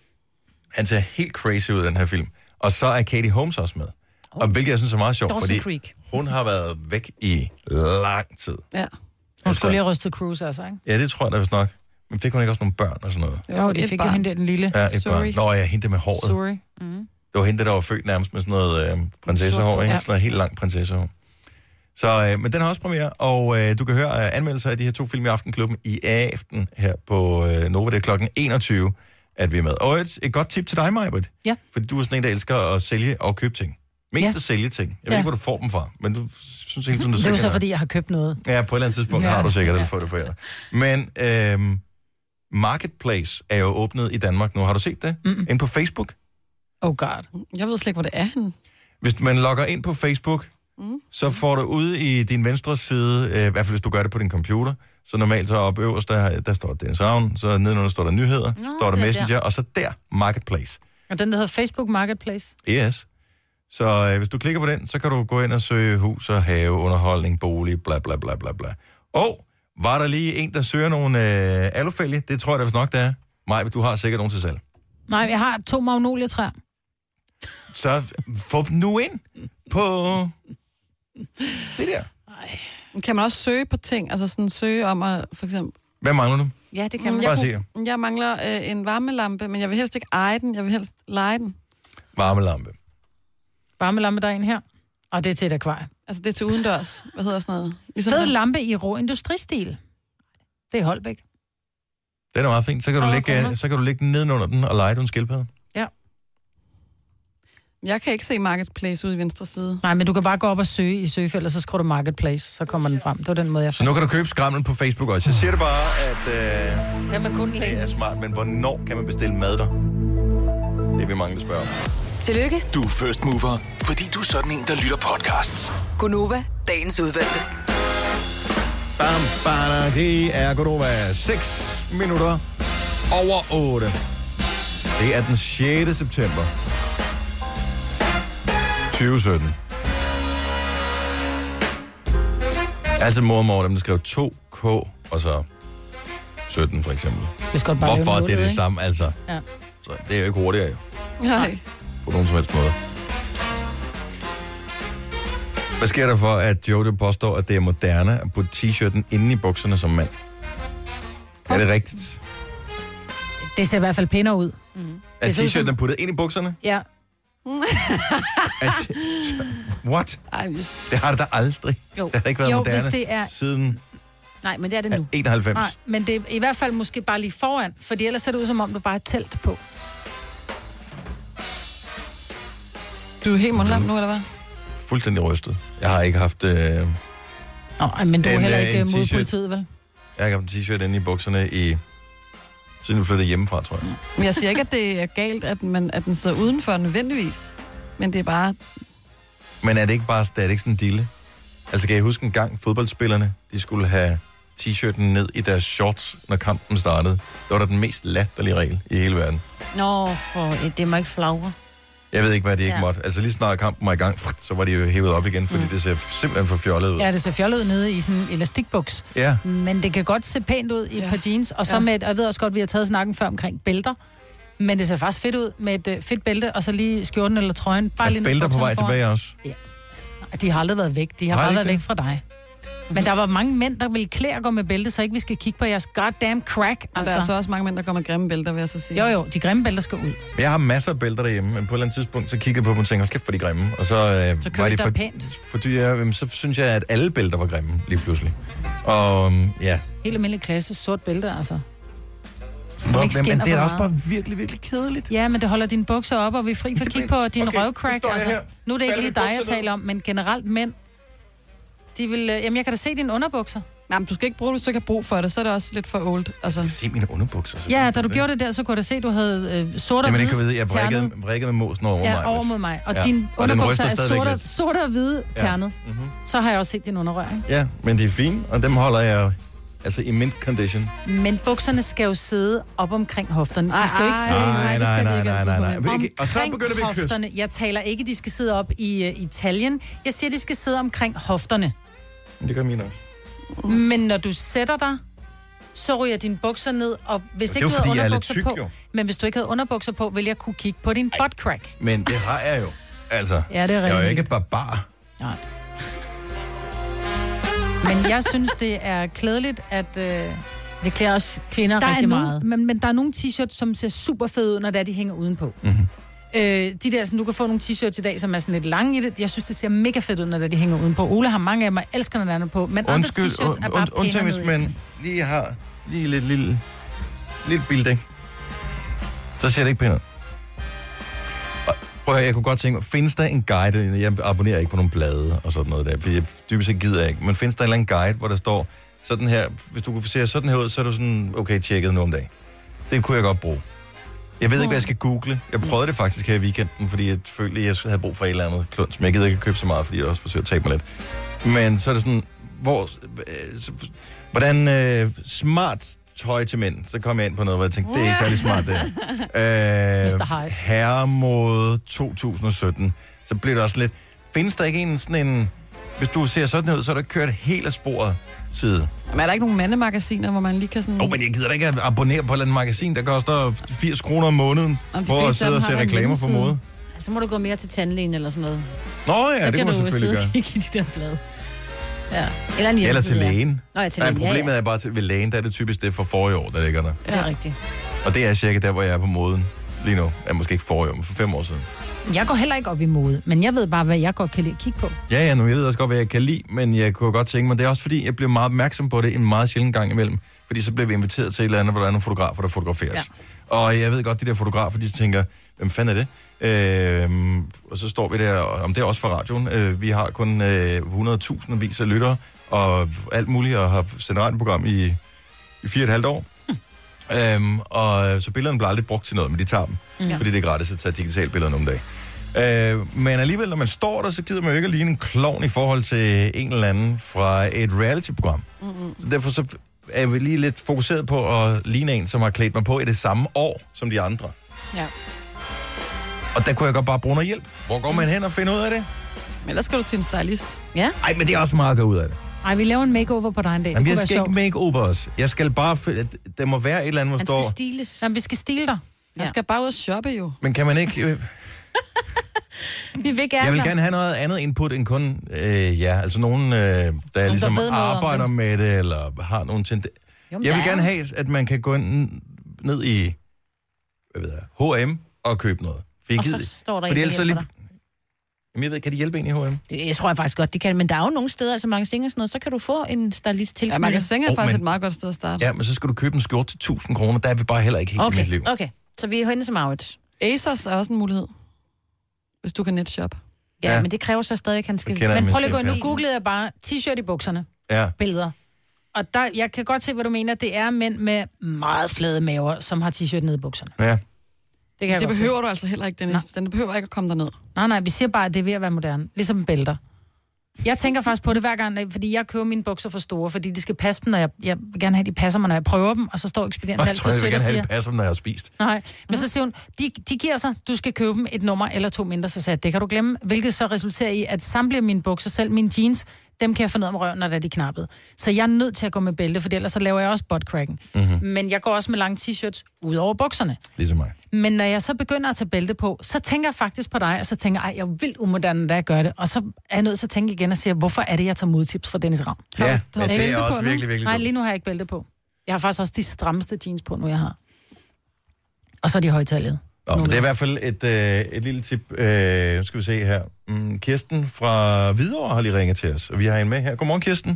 Han ser helt crazy ud i den her film. Og så er Katie Holmes også med. Oh. Og hvilket jeg synes er meget sjovt,
Dawson
fordi
Creek.
hun har været væk i lang tid. Altså,
ja.
Hun skulle lige have rystet Cruise, altså, ikke?
Ja, det tror jeg da vist nok. Men fik hun ikke også nogle børn og sådan noget?
Jo, det
et
fik
barn.
jeg hende der, den lille.
Ja, et
Sorry.
barn. Nå ja, hende der med håret.
Sorry.
Det var hende, der var født nærmest med sådan noget øh, prinsessehår,
Sort,
ikke?
ja.
Sådan noget helt langt prinsessehår. Så, øh, men den har også premiere, og øh, du kan høre øh, anmeldelser af de her to film i Aftenklubben i aften her på øh, Nova. Det er klokken 21, at vi er med. Og et, et godt tip til dig, Majbert.
Ja.
Fordi du er sådan en, der elsker at sælge og købe ting. Mest
Ja.
at sælge ting. Jeg ved
Ja.
ikke, hvor du får dem fra, men du synes hele tiden, du
Det er
sælger
jo så,
noget.
fordi jeg har købt noget.
Ja, på et eller andet tidspunkt ja.
Ja.
har du sikkert, eller får du forældre. Men øhm, Marketplace er jo åbnet i Danmark nu. Har du set det? Mm. Ind på Facebook?
Oh god.
Jeg ved slet ikke, hvor det er henne.
Hvis man logger ind på Facebook, mm. så får du ude i din venstre side, øh, i hvert fald hvis du gør det på din computer, så normalt så op øverst, der, der står Dennis Ravn, så nedenunder står der nyheder, Nå, står der
det er
Messenger, der. og så der Marketplace.
Og den, der hedder Facebook Marketplace.
Yes. Så øh, hvis du klikker på den, så kan du gå ind og søge hus og have, underholdning, bolig, bla bla bla bla bla. Og var der lige en, der søger nogle øh, alufælge? Det tror jeg da vist nok, der er. Maj, du har sikkert nogen til salg.
Nej, jeg har to magnolietræer.
Så få dem nu ind på det der.
Kan man også søge på ting? Altså sådan søge om at, for eksempel...
Hvad mangler du?
Ja, det kan man.
Bare
jeg,
se.
kunne, jeg mangler øh, en varmelampe, men jeg vil helst ikke eje den. Jeg vil helst lege den.
Varmelampe.
Varmelampe, der er en her. Og det er til et akvarie.
Altså det er til udendørs. Hvad hedder sådan noget? Ligesom
Fed
den-
lampe i rå industristil. Det er Holbæk.
Den er meget fin. Så kan, du
30
lægge,
kroner.
så kan du lægge den nedenunder den og lege du en skildpadde.
Jeg kan ikke se Marketplace ude i venstre side.
Nej, men du kan bare gå op og søge i søgefeltet, så skriver du Marketplace, så kommer den frem. Det var den måde, jeg
Så
fandt.
nu kan du købe skramlen på Facebook også. Jeg siger det bare, at øh,
Kan man kun
det
lægge?
er smart, men hvornår kan man bestille mad der? Det er vi mange, der spørger om.
Tillykke,
Du er first mover, fordi du er sådan en, der lytter podcasts.
Gunova, dagens udvalgte.
Bam, bada, det er Godova. 6 minutter over 8. Det er den 6. september 2017. Altså mor og mor, dem der skrev 2K og så 17 for eksempel.
Det skal godt bare
Hvorfor
lave
det er det
ikke?
samme, altså?
Ja.
Så det er jo ikke hurtigere, jo
Nej.
på nogen som helst måde. Hvad sker der for, at Jojo påstår, at det er moderne at putte t-shirten inde i bukserne som mand? Er det rigtigt?
Det ser i hvert fald pænere ud.
Er
Det ser ud som-
t-shirten er puttet ind i bukserne?
Ja,
Er t- [LAUGHS] What?
Ej, vi-
Det har det da aldrig.
Jo.
Det har da ikke været
Jo,
moderne
hvis det er-
siden
Nej, men det er det nu.
91.
nej, men det er i hvert fald måske bare lige foran, for ellers ser det ud, som om du bare har et telt på.
Du er helt mundlam nu, eller hvad?
Fuldstændig rystet. Jeg har ikke haft, øh, jeg
Nå, ej, men du er
Den,
heller
øh,
ikke
en
øh, mod
t-shirt.
politiet, vel?
har ikke haft en t-shirt inde i bukserne i siden vi flyttede hjemmefra, tror jeg.
Men jeg siger ikke, at det er galt, at, man, at den sidder udenfor nødvendigvis. Men det er bare...
Men er det ikke bare det er det ikke sådan en dille? Altså, kan jeg huske en gang, fodboldspillerne, de skulle have t-shirten ned i deres shorts, når kampen startede. Det var da den mest latterlige regel i hele verden.
Nå, for øh, det må ikke flagre.
Jeg ved ikke, hvad de ikke
Ja.
ja. måtte. Altså, lige snart kampen var i gang, så var de jo hævet op igen, fordi mm. det ser simpelthen for fjollet ud.
Ja, det ser fjollet ud nede i sådan en elastikbuks.
Ja.
Men det kan godt se pænt ud i et
Ja.
par jeans. Og så
Ja.
med et, og jeg ved også godt, vi har taget snakken før omkring bælter. Men det ser faktisk fedt ud med et øh, fedt bælte, og så lige skjorten eller trøjen. Bare lige
Er
ned
bælter på
bukserne
vej
foran.
tilbage også?
De har aldrig været væk. De har
Har de
bare været
ikke
væk fra dig. Men der var mange mænd, der ville klæde at gå med bælte, så ikke vi skal kigge på jeres goddamn crack.
Altså. Der er så
Altså.
også mange mænd, der går med grimme bælter, vil jeg så sige.
Jo, jo, de grimme bælter skal ud.
Men Jeg har masser af bælter derhjemme, men på et eller andet tidspunkt, så kiggede jeg på dem og tænkte, "Hold kæft for de er grimme. Og så, øh,
Så købte
var de
der
for,
pænt.
Fordi jeg, øhm, så synes jeg, at alle bælter var grimme lige pludselig. Og øhm, ja,
Helt almindelig klasse, sort bælte, altså.
Hvor,
ikke
men, men
skinner
det er
for
da også
meget.
bare virkelig, virkelig kedeligt.
Ja, men det holder dine bukser op, og vi er fri for at kigge på din
Okay,
okay,
nu
røvcrack.
står jeg
Altså.
her.
Nu er det ikke
Falder
lige
mine
dig, jeg
bukser ned.
taler om, men generelt mænd. De vil, øh, jamen, jeg kan da se dine underbukser.
Nej, men du skal ikke bruge det, hvis du ikke har brug for det. Så er det også lidt for old. Altså.
Se mine underbukser. så
Ja,
sådan
da du
der.
gjorde det der, så kunne jeg da se, at du havde øh, sort og
Jamen,
hvide
jeg kan vide, jeg
ternet.
brækkede, brækkede med mosen over mig.
Ja, over mod mig. Og
Ja.
ja. dine
Og den
underbukser
ryster
er
stadigvæk
sort og,
lidt.
sort og hvide
Ja. Mhm.
ternet. Så har jeg også set din underrør, ikke?
Ja, men de er fine, og dem holder jeg altså i mint condition.
Men bukserne skal jo sidde op omkring hofterne. De skal jo ikke
Ej,
sidde
Nej,
det skal
nej,
de
nej,
ikke
nej,
altid
nej,
på
nej.
den.
Vi ikke- og så
omkring
begynder vi at kysse.
hofterne. Jeg taler ikke, de skal sidde op i øh, Italien. Jeg siger, de skal sidde omkring hofterne.
Men Det gør mine også. Uh.
Men når du sætter dig, så ryger dine bukser ned, og hvis
det er
ikke
jo
du havde
fordi, jeg er lidt
underbukser
tyk,
på,
jo.
men hvis du ikke havde underbukser på, ville jeg kunne kigge på din butt crack.
Men det har jeg jo. Altså,
Ja, det er
jeg er jo
rigtig
ikke
vildt.
barbar.
Nej. Men jeg synes, det er klædeligt, at... Øh,
Det klæder også kvinder
der er
rigtig
nogle,
meget.
men, men der er nogle t-shirts, som ser super fede ud, når det er, de hænger udenpå.
Mhm.
Mm-hmm. Øh, de der, sådan, du kan få nogle t-shirts i dag, som er sådan lidt lange i det. Jeg synes, det ser mega fedt ud, når det er, de hænger udenpå. Ole har mange af mig, elsker når den på, men
Undskyld,
andre t-shirts er
und-
bare
und- undtagen
pænere
hvis
nede i.
man lige har lige lidt lille, lille bildæk. Så ser det ikke pænt ud. Og Prøv at høre, jeg kunne godt tænke mig, findes der en guide, jeg abonnerer ikke på nogle blade og sådan noget der, fordi jeg dybest set gider jeg ikke, men findes der en eller anden guide, hvor der står sådan her, hvis du kunne se sådan her ud, så er du sådan, okay, tjekket nu om dagen. Det kunne jeg godt bruge. Jeg ved ikke, hvad jeg skal google. Jeg prøvede det faktisk her i weekenden, fordi jeg følte, at jeg havde brug for et eller andet klunds, men jeg gider ikke at købe så meget, fordi jeg også forsøger at tabe mig lidt. Men så er det sådan, hvor, øh, så- hvordan øh, smart tøj til mænd, så kom jeg ind på noget, hvor jeg tænkte, det er ikke særlig smart det her. Øh,
Mr. Hyde.
Herremode 2017. Så blev det også lidt, findes der ikke en sådan en, hvis du ser sådan her ud, så er der kørt helt af sporet side.
Men er der ikke nogen mandemagasiner, hvor man lige kan sådan...
Åh, oh, men jeg gider da ikke at abonnere på et eller andet magasin, der koster 80 kroner om måneden,
Om de
for at
fleste af
sidde
dem
og
har
se
da en
reklamer for
hjemmeside.
mode.
Så Altså, må du gå mere til tandlægen eller sådan noget.
Nå ja,
så
det kan man
du
selvfølgelig
sidde
gøre.
og kigge i de der blade. Ja. Eller, en
Eller til
hjemmeside, ja.
lægen.
Nå, ja, til
Nej,
lægen.
problemet
ja, ja.
er bare til, ved lægen, der er det typisk det for forrige år, der ligger der.
Det er rigtigt.
Og det er cirka der, hvor jeg er på moden lige nu. Ja, måske ikke forrige år, men for fem år siden.
Jeg går heller ikke op i mode, men jeg ved bare, hvad jeg godt kan lide at kigge på.
Ja, ja, nu jeg ved også godt, hvad jeg kan lide, men jeg kunne godt tænke mig, det er også fordi, jeg bliver meget opmærksom på det en meget sjældent gang imellem. Fordi så bliver vi inviteret til et eller andet, hvor der er nogle fotografer, der fotograferes. Ja. Og jeg ved godt, de der fotografer, de tænker, hvem fanden er det? Øh, og så står vi der, og om det er også for radioen. Øh, vi har kun øh, 100.000 vis af lyttere, og alt muligt, og har sendt radioprogram i, i fire og et halvt år. Øhm, og så billederne bliver aldrig brugt til noget, men de tager dem. Ja. Fordi det er gratis at tage digitale billeder nogle dage. Øh, men alligevel, når man står der, så gider man jo ikke at ligne en klovn i forhold til en eller anden fra et reality-program. Mm-hmm. Så derfor så er vi lige lidt fokuseret på at ligne en, som har klædt mig på i det samme år som de andre.
Ja.
Og der kunne jeg godt bare bruge noget hjælp. Hvor går man hen og finder ud af det?
Men ellers skal du til en stylist.
Ej, men det er også meget at gøre ud af det.
Ej, vi laver en makeover på dig en dag.
Jamen,
det
jeg
kunne
skal
være
ikke
sjovt.
make over os. Jeg skal bare... fi- Der må være et eller andet, hvor
Han
står...
skal stiles.
Jamen, vi skal stile dig.
Man
Ja.
skal bare ud og shoppe jo.
Men kan man ikke... øh,
Vi vil gerne.
Jeg vil gerne have noget andet input end kun øh, ja, altså nogen, øh, der, der ligesom
ved noget om
arbejder med det, eller har nogle tendenser.
Jo, men
Jeg vil
der er
gerne
jo-
have, at man kan gå ind, ned i hvad ved jeg, H&M og købe noget. For jeg
Og så
gider-
står der
fordi
en,
ellers
der
så lige...
hjælper
Jamen, jeg ved, kan de hjælpe en i H&M? Åh,
Det, jeg tror jeg faktisk godt, de kan. Men der er jo nogle steder, altså magasin og sådan noget, så kan du få en stylist til.
Ja, magasin er
Åh,
oh, faktisk
men-
et meget godt sted at starte.
Ja, men så skal du købe en skjorte til 1000 kroner. Der er vi bare heller ikke helt i
Okay,
mit liv.
okay. Så vi er henne som Maurits.
Asos er også en mulighed. Hvis du kan netshoppe.
Ja,
Ja.
ja, men det kræver så stadig, at han skal...
Det kender jeg
Men
min
prøv lige at
chef
gå ind. Nu
selv.
googlede jeg bare t-shirt i bukserne.
Ja.
Billeder. og der, jeg kan godt se, hvad du mener. Det er mænd med meget flade maver, som har t-shirt nede i bukserne.
Ja.
Det kan jeg
Det
godt se.
behøver du altså heller ikke, Dennis. Den behøver ikke at komme derned.
Nej, nej, vi siger bare, at det er ved at være moderne. Ligesom bælter. Jeg tænker faktisk på det hver gang, fordi jeg køber mine bukser for store, fordi de skal passe dem, når jeg, jeg vil gerne have, at de passer mig, når jeg prøver dem, og så står ekspedienten
altså,
Jeg tror,
altid
jeg vil gerne
sødt og
have
siger,
det passer, når jeg har spist.
nej. Men så siger hun, de, de giver sig, du skal købe dem et nummer eller to mindre, så sagde jeg, det kan du glemme, hvilket så resulterer i, at samtlige mine bukser, selv mine jeans, dem kan jeg få ned om røven, når der er de knappede. Så jeg er nødt til at gå med bælte, for ellers så laver jeg også buttcracken. Mm-hmm. Men jeg går også med lange t-shirts ud over bukserne.
Ligesom mig.
Men når jeg så begynder at tage bælte på, så tænker jeg faktisk på dig, og så tænker jeg, "Ej, jeg er vildt umoderne, da jeg gør det. Og så er jeg nødt til at tænke igen og sige, hvorfor er det, jeg tager modtips fra Dennis Ram?
Ja, men
ikke
det er
det
også
på,
virkelig, virkelig
Nej,
dumt.
lige nu har jeg ikke bælte på. Jeg har faktisk også de strammeste jeans på, nu jeg har. Og så er de højtalede.
Nå, men det er i hvert fald et, øh, et lille tip. Øh, nu skal vi se her. Mm, Kirsten fra Hvidovre har lige ringet til os, og vi har en med her. Godmorgen, Kirsten.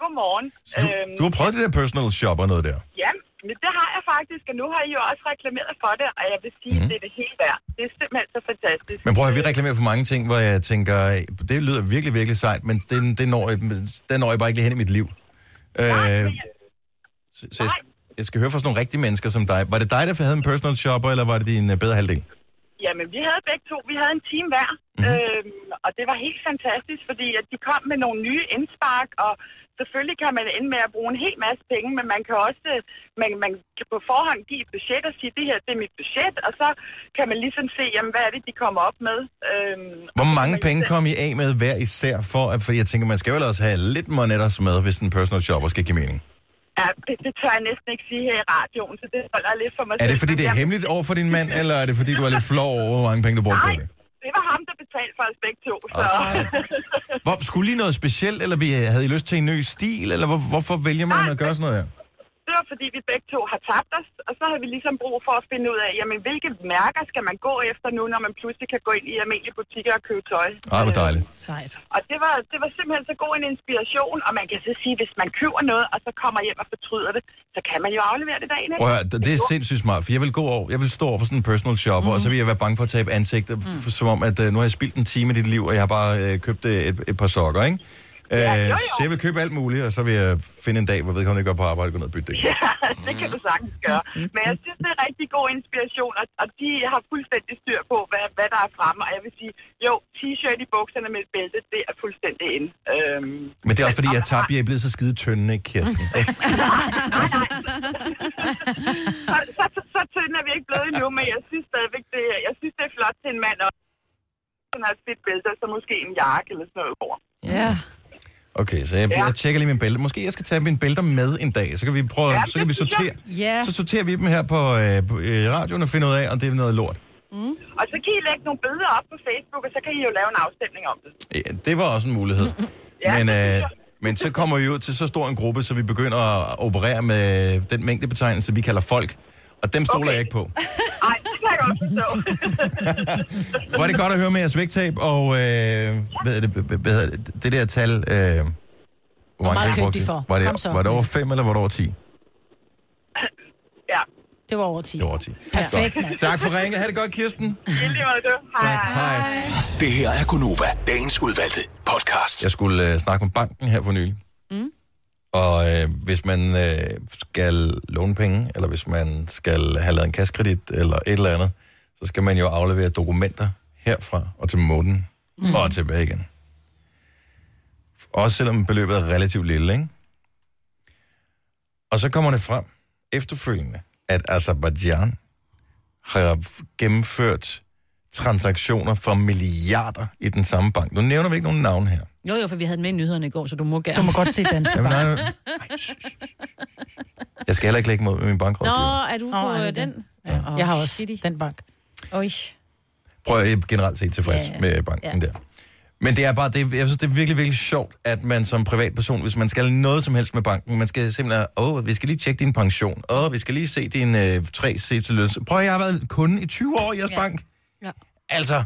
Godmorgen.
Så du, du har prøvet det der personal shopper noget der.
Ja, men det har jeg faktisk, og nu har I jo også reklameret for det, og jeg vil sige, mm. det er det hele værd. Det er simpelthen så fantastisk.
Mhm. Men prøv at høre, vi reklamerer for mange ting, hvor jeg tænker, det lyder virkelig, virkelig sejt, men den, den, når, jeg, den når jeg bare ikke lige hen i mit liv. Øh, så så jeg, jeg skal høre fra sådan nogle rigtige mennesker som dig. Var det dig, der havde en personal shopper, eller var det din øh, bedre halvdel?
Jamen, vi havde begge to, vi havde en time hver,
Mhm.
mm. øhm, og det var helt fantastisk, fordi at de kom med nogle nye indspark, og selvfølgelig kan man ende med at bruge en hel masse penge, men man kan også øh, man, man kan på forhånd give et budget og sige, det her det er mit budget, og så kan man ligesom se, jamen, hvad er det, de kommer op med. Øhm,
Hvor mange penge kom I af med hver især for? at- For jeg tænker, man skal jo også have lidt monetter med, hvis en personal shopper skal give mening.
Ja, det, det tør jeg næsten ikke sige her i radioen, så det holder jeg lidt for mig
Er
selv.
det, fordi
Men
det er
jamen,
hemmeligt over for din mand, eller er det, fordi du er lidt flov over, hvor mange penge du bruger på
Nej,
det?
det var ham, der betalte for os begge to. Så. [LAUGHS]
Hvor, skulle lige noget specielt, eller vi havde I lyst til en ny stil, eller hvor, hvorfor vælger man at gøre sådan noget her?
det var fordi, vi begge to har tabt os, og så har vi ligesom brug for at finde ud af, jamen, hvilke mærker skal man gå efter nu, når man pludselig kan gå ind i almindelige butikker og købe tøj.
Ej, hvor dejligt.
Sejt.
Og det var, det var simpelthen så god en inspiration, og man kan så sige, hvis man køber noget, og så kommer hjem og fortryder det, så kan man jo aflevere det dagen
Prøv
efter.
at høre, det er sindssygt smart, for jeg vil gå over, jeg vil stå over for sådan en personal shopper, mm. og så vil jeg være bange for at tabe ansigtet, mm. som om, at øh, nu har jeg spildt en time i dit liv, og jeg har bare øh, købt øh, et, et par sokker, ikke? Øh,
jo, jo.
Så jeg vil købe alt muligt, og så vil jeg finde en dag, hvor jeg vedkommende ikke går på arbejde og går ned og bytte det.
Ja, [LAUGHS] det kan du sagtens gøre. Men jeg synes, det er rigtig god inspiration, og, og de har fuldstændig styr på, hvad, hvad der er fremme. Og jeg vil sige, jo, t-shirt i bukserne med et bælte, det er fuldstændig ind. Øhm,
Men det er også fordi, jeg tabte, jeg er blevet så skide tyndende, ikke, Kirsten?
[LAUGHS] så, så, så, så tynd er vi ikke blevet endnu, men jeg synes stadigvæk, det, er- jeg synes, det er flot til en mand, og han har et fedt bælte, og så måske en jakke eller sådan noget over.
Ja.
Okay, så jeg,
Ja.
jeg tjekker lige min bælte. Måske jeg skal tage mine bælter med en dag, så kan vi prøve,
Ja,
så kan vi
det synes
sortere.
Ja.
Så sorterer vi dem her på, øh, på øh, radioen og finder ud af, om det er noget lort.
Og så kan I lægge nogle billeder op på Facebook, og så kan I jo lave en afstemning om det.
Ja, det var også en
[LAUGHS]
mulighed.
Ja,
men,
det synes
øh,
jeg.
men så kommer vi ud til så stor en gruppe, så vi begynder at operere med den mængdebetegnelse, vi kalder folk. Og dem stoler okay.
Okay.
jeg ikke på.
Nej, det kan jeg godt forstå. [LAUGHS]
Hvor er det godt at høre med jeres vægttab og øh, hvad er det, hvad hvad hedder det, det der tal... Øh, hvor mange penge
købte
brugte
de
I?
for?
Var
Kom
det,
så.
var det over 5 eller var det over 10? Det
ja,
Det var over 10.
var over 10.
Perfekt,
Godt.
mand.
Tak for ringet. Ha' det godt, Kirsten.
det er lige meget det. Hej. hej.
Hej.
Det her er Gunova, dagens udvalgte podcast.
Jeg skulle øh, snakke med banken her for nylig. Mm. Og øh, hvis man øh, skal låne penge, eller hvis man skal have lavet en kassekredit, eller et eller andet, så skal man jo aflevere dokumenter herfra og til måneden, mm. og tilbage igen. Også selvom beløbet er relativt lille, ikke? Og så kommer det frem efterfølgende, at Azerbaijan har gennemført transaktioner for milliarder i den samme bank. Nu nævner vi ikke nogen navn her.
Jo, jo, for vi havde den med i nyhederne i går, så du må
Du
gerne.
må godt se danske
Jamen,
bare.
nej, nej. Ej, shh, shh, shh. Jeg skal heller ikke lægge mod med min bankrådgiver.
Nå, er du
Nå,
på
er det
øh, den? [LAUGHS] Ja.
Jeg har også den bank.
Oj.
Prøv at jeg er generelt set tilfreds
Ja, ja.
med banken der. Men det er bare, det, jeg synes, det er virkelig, virkelig sjovt, at man som privatperson, hvis man skal noget som helst med banken, man skal simpelthen, åh, oh, vi skal lige tjekke din pension, åh, oh, vi skal lige se din øh, 3 c til løs. Prøv, at, jeg har været kunde i 20 år i jeres ja. bank.
Ja.
Altså,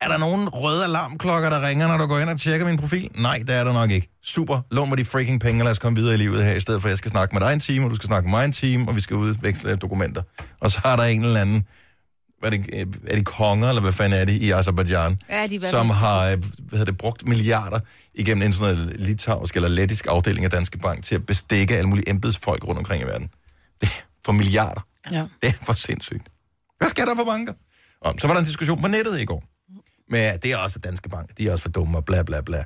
er der nogen røde alarmklokker, der ringer, når du går ind og tjekker min profil? Nej, det er der nok ikke. Super, lån mig de freaking penge, og lad os komme videre i livet her, i stedet for at jeg skal snakke med dig en time, og du skal snakke med mig en time, og vi skal udveksle dokumenter. Og så har der en eller anden hvad er, det, øh, er det konger, eller hvad fanden er det, i Azerbaijan,
Ja, de er i hvert fald-
som har øh, hvad hedder det, brugt milliarder igennem en sådan noget litauisk eller lettisk afdeling af Danske Bank til at bestikke alle mulige embedsfolk rundt omkring i verden. Det er for milliarder.
Ja.
Det er for sindssygt. Hvad skal der for banker? Og så var der en diskussion på nettet i går. Men ja, det er også Danske Bank. De er også for dumme og bla bla bla.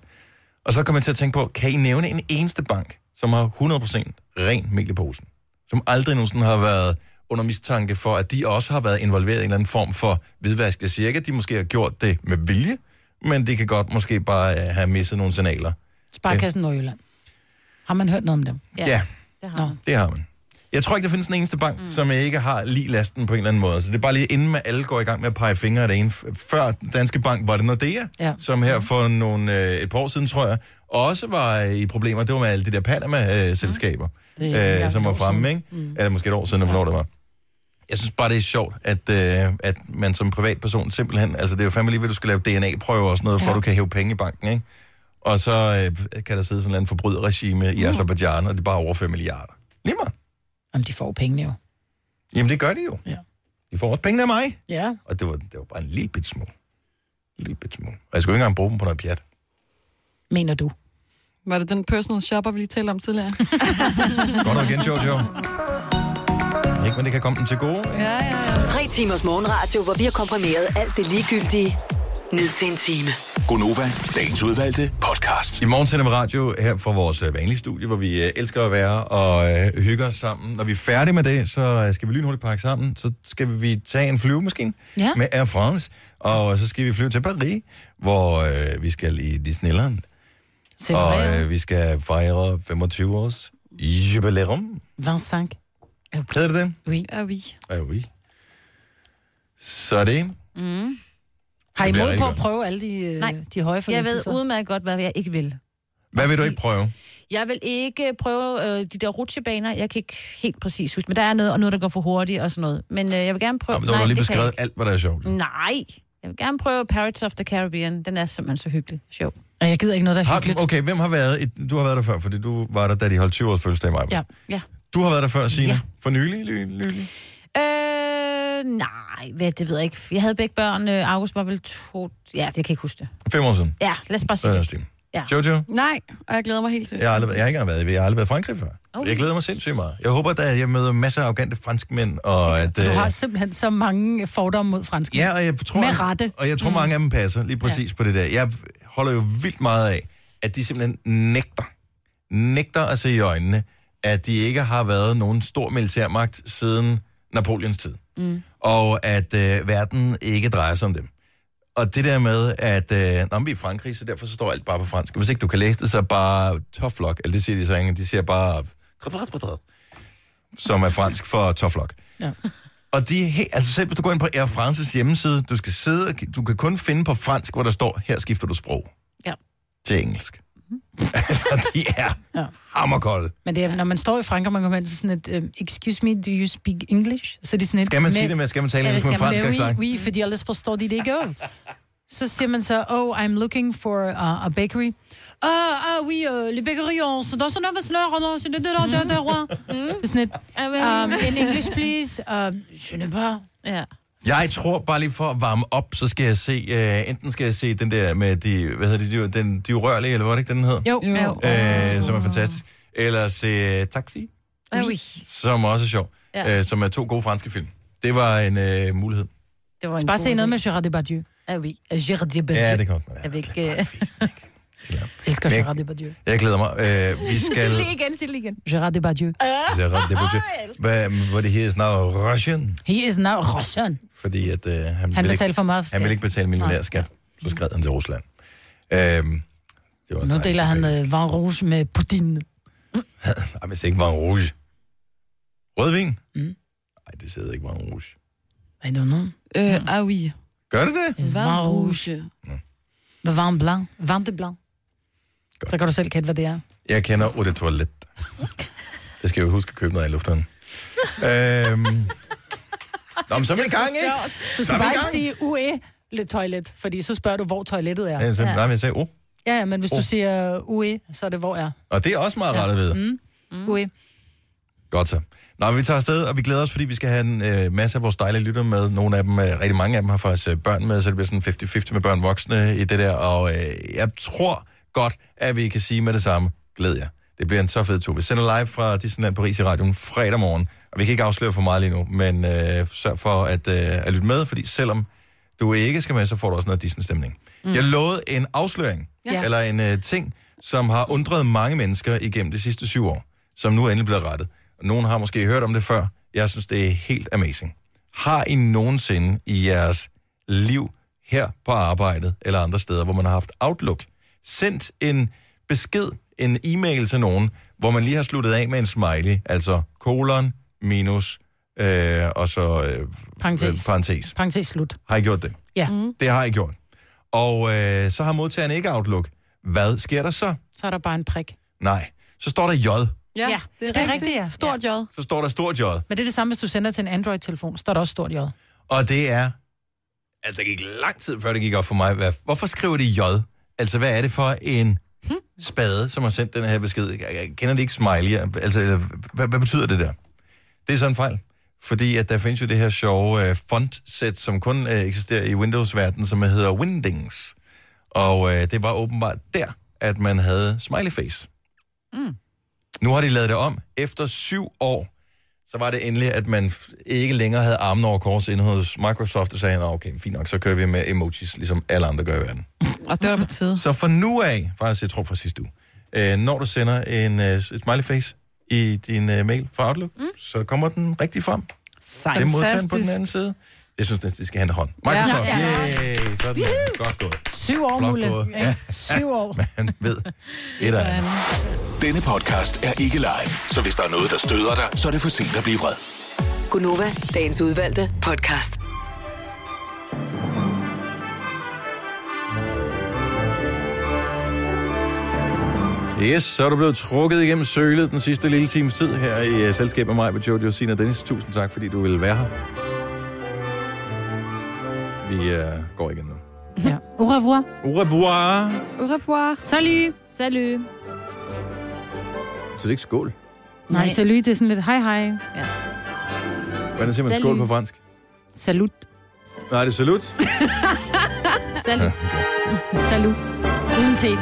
Og så kom jeg til at tænke på, kan I nævne en eneste bank, som har 100% ren mel i posen? Som aldrig nogensinde har været under mistanke for, at de også har været involveret i en eller anden form for hvidvask. Jeg siger ikke, at de måske har gjort det med vilje, men de kan godt måske bare øh, have misset nogle signaler.
Sparkassen Nordjylland. Har man hørt noget om dem?
Ja. ja.
Det har
Nå.
man.
Det har man. Jeg tror ikke, der findes en eneste bank, mm. som ikke har lige lasten på en eller anden måde. Så det er bare lige inden man alle går i gang med at pege fingre af det ene. F- Før Danske Bank var det Nordea,
Ja.
som her
Mm.
for nogle, øh, et par år siden, tror jeg, også var øh, i problemer. Det var med alle de der øh,
Mm.
Panama-selskaber,
Det er ikke
øh,
engang
øh, som
et
var
år
fremme,
siden.
ikke? Mm. Eller måske et år siden, ja. hvornår det var. Jeg synes bare, det er sjovt, at, øh, at man som privatperson simpelthen... Altså, det er jo fandme lige ved, at du skal lave DNA-prøver og sådan noget, ja. for at du kan hæve penge i banken, ikke? Og så øh, kan der sidde sådan en eller anden forbryderregime
Mm.
i Azerbaijan, og det er bare over 5 milliarder. Lige meget.
Jamen, de får jo pengene jo.
Jamen, det gør de jo.
Ja.
De får også pengene af mig.
Ja.
Og det var, det var bare en lille bit smule. En lille bit smule. Og jeg skulle ikke engang bruge dem på noget pjat.
Mener du?
Var det den personal shopper, vi lige talte om tidligere?
Godt nok igen, Jojo. Ikke, men det kan komme dem til gode. Ikke?
ja, ja, ja.
Tre timers morgenradio, hvor vi har komprimeret alt det ligegyldige ned til en time.
Gonova, dagens udvalgte podcast.
I morgen sender vi radio her fra vores øh, vanlige studie, hvor vi øh, elsker at være og øh, hygge os sammen. Når vi er færdige med det, så øh, skal vi lynhurtigt pakke sammen. Så skal vi tage en flyvemaskine
Ja.
med Air France. Og så skal vi flyve til Paris, hvor øh, vi skal i Disneyland.
Selv
Og øh, vi skal fejre 25 års jubilæum.
25.
Hedder det det?
Oui.
Ja, vi.
Ja, oui. Så er det.
Mm. Har I
Det bliver rigtig
mod på at
godt.
prøve alle de, øh,
Nej.
de høje
Jeg ved
forlystelser?
udmærket godt, hvad jeg ikke vil.
Hvad vil du ikke prøve?
Jeg vil ikke prøve øh, de der rutsjebaner. Jeg kan ikke helt præcis huske, men der er noget, og noget, der går for hurtigt og sådan noget. Men øh, jeg vil gerne prøve...
Nå, men du har
Nej,
lige
det kan jeg
beskrevet alt, hvad der er
Mm.
sjovt.
ikke. Nej, jeg vil gerne prøve Pirates of the Caribbean. Den er simpelthen så hyggelig. Sjov.
Og jeg gider ikke noget, der er
Har,
hyggeligt.
okay, hvem har været... I, du har været der før, fordi du var der, da de holdt 20 års fødselsdag i maj.
Ja.
Ja.
Du har været der før, Signe. Ja.
Ja.
For nylig, ly, nylig.
Øh, nej, hvad, det ved jeg ikke. Jeg havde begge børn. Øh, August var vel to... Ja, det kan jeg ikke huske det.
Fem år siden.
Ja, lad os bare
Så er
sige
jeg
det.
Stine.
Ja.
Jojo,
Nej, og jeg glæder mig helt til.
jeg har, aldrig, jeg har ikke engang været i, jeg har aldrig været i Frankrig før. Okay.
Okay.
Jeg glæder mig sindssygt meget. Jeg håber, at jeg møder masser af arrogante franskmænd, og at...
Du
øh,
har simpelthen så mange fordomme mod fransk.
Ja, og jeg tror,
Med rette.
Og jeg tror, mange af dem passer lige præcis ja. på det der. Jeg holder jo vildt meget af, at de simpelthen nægter, nægter at se i øjnene, at de ikke har været nogen stor militærmagt siden Napoleons tid. Mm. Og at øh, verden ikke drejer sig om dem. Og det der med, at øh, når vi er i Frankrig, så derfor så står alt bare på fransk. Og Hvis ikke du kan læse det, så bare tough luck. Eller det siger de så ikke. De siger bare... Som er fransk for tough luck. Og de, er he- altså selv hvis du går ind på Air Frances hjemmeside, du skal sidde, og ki- du kan kun finde på fransk, hvor der står, her skifter du sprog
Ja. Mhm.
til engelsk. [LAUGHS] Altså, de er
Ja.
hammerkolde.
Men det er, når man står i Frankrig, og man kommer hen til sådan et, øh, excuse me, do you speak English? Så er de sådan et,
Skal man sige det med, skal man tale
Ja, det
engelsk med
skal man.
fransk
Mary,
accent?
oui, fordi ellers forstår de det ikke. også. Så siger man så, oh, I'm looking for uh, a bakery. Ah, ah, oui, uh, les bakeries, så der er sådan noget, der er sådan noget, der er sådan noget, der er sådan et, um, in English, please, uh, je ne pas.
Ja.
Jeg tror bare lige for at varme op, så skal jeg se, uh, enten skal jeg se den der med de, hvad hedder de, de, den, de urørlige, eller hvad var det ikke, den hed?
Jo,
Jo.
jo.
Øh, som er fantastisk. Eller se uh, Taxi,
Ah, oui.
som også er sjov, ja.
Ja.
uh, som er to gode franske film. Det var en uh, mulighed.
Det var en
Bare
god
se noget
idé.
med Gérard Depardieu.
Ah, oui.
Gérard Depardieu.
Ja, det kan godt være.
Jeg vil ikke... øh,
Jeg elsker
Men-
Gérard Depardieu.
Jeg glæder mig. Øh,
[LAUGHS]
vi skal...
Sig det igen, sig det igen.
Gérard Depardieu.
Jeg er ret debattør. Hvad, hvor det her snart Russian,
He is now Russian.
fordi at, øh, han,
Han
vil
betaler
ikke,
for meget for
han
skat.
vil ikke betale millionærskat. Så skred han til Rusland. Øhm, det var
Nu
dejligt.
deler han øh, vin rouge med Putin.
Ej, hvis det ikke var en rouge. Rødvin? Nej,
Mm.
det sidder ikke var en rouge.
I don't know.
Øh, ah, oui.
Gør det det?
Vin
Vin
rouge.
rouge.
Vin blanc. Vin de blanc.
Godt.
Så kan du selv kende, hvad det er.
Jeg kender Eau de
[LAUGHS]
Toilette. Det skal jeg jo huske at købe noget af i lufthavnen.
[LAUGHS]
øhm, Nå, men så er vi i gang, ikke?
Du
Så
skal
er vi i
bare ikke
gang.
sige UE le toilet, fordi så spørger du, hvor toilettet er.
Øh, så- Nej, men jeg sagde, oh.
Ja, ja, men hvis
Oh.
du siger UE, så er det, hvor er. Mm.
Og det er også meget rart at vide.
UE.
Godt så. Nå, men vi tager afsted, og vi glæder os, fordi vi skal have en øh, masse af vores dejlige lytter med. Nogle af dem, øh, rigtig mange af dem har faktisk øh, børn med, så det bliver sådan 50-50 med børn og voksne i det der. Og øh, jeg tror godt, at vi kan sige med det samme, glæd jer. Det bliver en så fed tur. Vi sender live fra Disneyland Paris i radioen fredag morgen. Og vi kan ikke afsløre for meget lige nu, men øh, sørg for at, øh, at lytte med, fordi selvom du ikke skal med, så får du også noget Disney-stemning. Mm. Jeg lovede en afsløring, ja.
Ja.
eller en øh, ting, som har undret mange mennesker igennem de sidste syv år, som nu er endelig blevet rettet. Og Nogen har måske hørt om det før. Jeg synes, det er helt amazing. Har I nogensinde i jeres liv her på arbejdet eller andre steder, hvor man har haft Outlook, sendt en besked, en e-mail til nogen, hvor man lige har sluttet af med en smiley, altså kolon, minus, øh, og så øh,
Parentes.
øh, parentes.
Parenthes slut.
Har I gjort det?
Ja,
Det har I gjort. Og øh, så har modtageren ikke Outlook. Hvad sker der så?
så er der bare en prik.
Nej. Så står der J.
Ja,
Ja,
det er,
det er
rigtigt.
rigtigt, ja.
Stort jod.
Så står der stort J.
Men det er det samme, hvis du sender til en Android-telefon. Så er der også stort J.
Og det er... Altså, der gik lang tid, før det gik op for mig. Hvad, hvorfor skriver de J? Altså, hvad er det for en spade, som har sendt den her besked? Jeg, jeg kender det ikke smiley. Altså, eller, hvad, hvad betyder det der? Det er sådan en fejl. Fordi at der findes jo det her sjove øh, fontsæt, som kun øh, eksisterer i Windows-verdenen, som hedder Windings. Og øh, det var åbenbart der, at man havde smiley face. Mm. Nu har de lavet det om. Efter syv år, så var det endelig, at man f- ikke længere havde armen over kors inde hos Microsoft, og sagde, "Nå, okay, fint nok, så kører vi med emojis, ligesom alle andre gør i verden.
Og det var på tide.
Så fra nu af, faktisk jeg tror fra sidste uge, øh, når du sender en, øh, et smiley face i din øh, mail fra Outlook, mm. så kommer den rigtig frem.
Sejt.
Det er modtageren på den
Fantastisk.
anden side. Jeg synes, det skal hente hånd. Microsoft, ja,
Ja,
ja,
ja.
ja. yay! Sådan der. Godt gået.
Syv år,
Flot
Mulle.
gået.
Ja. Syv
[LAUGHS]
år.
Han ved et af andet.
Denne podcast er ikke live, så hvis der er noget, der støder dig, så er det for sent at blive vred.
Gunova, dagens udvalgte podcast.
Yes, så er du blevet trukket igennem sølet den sidste lille times tid her i uh, selskab med mig, med Jojo Sina og Dennis. Tusind tak, fordi du ville være her. Vi uh, går igen nu.
Ja. Au revoir.
Au revoir.
Au revoir.
Salut.
Salut.
Så det er ikke skål.
Nej,
Nej.
salut, det er sådan lidt hej hej.
Hvordan siger man
Salut.
skål på fransk?
Salut.
Nej, det er salut.
[LAUGHS] Salut.
Salut. Uden te.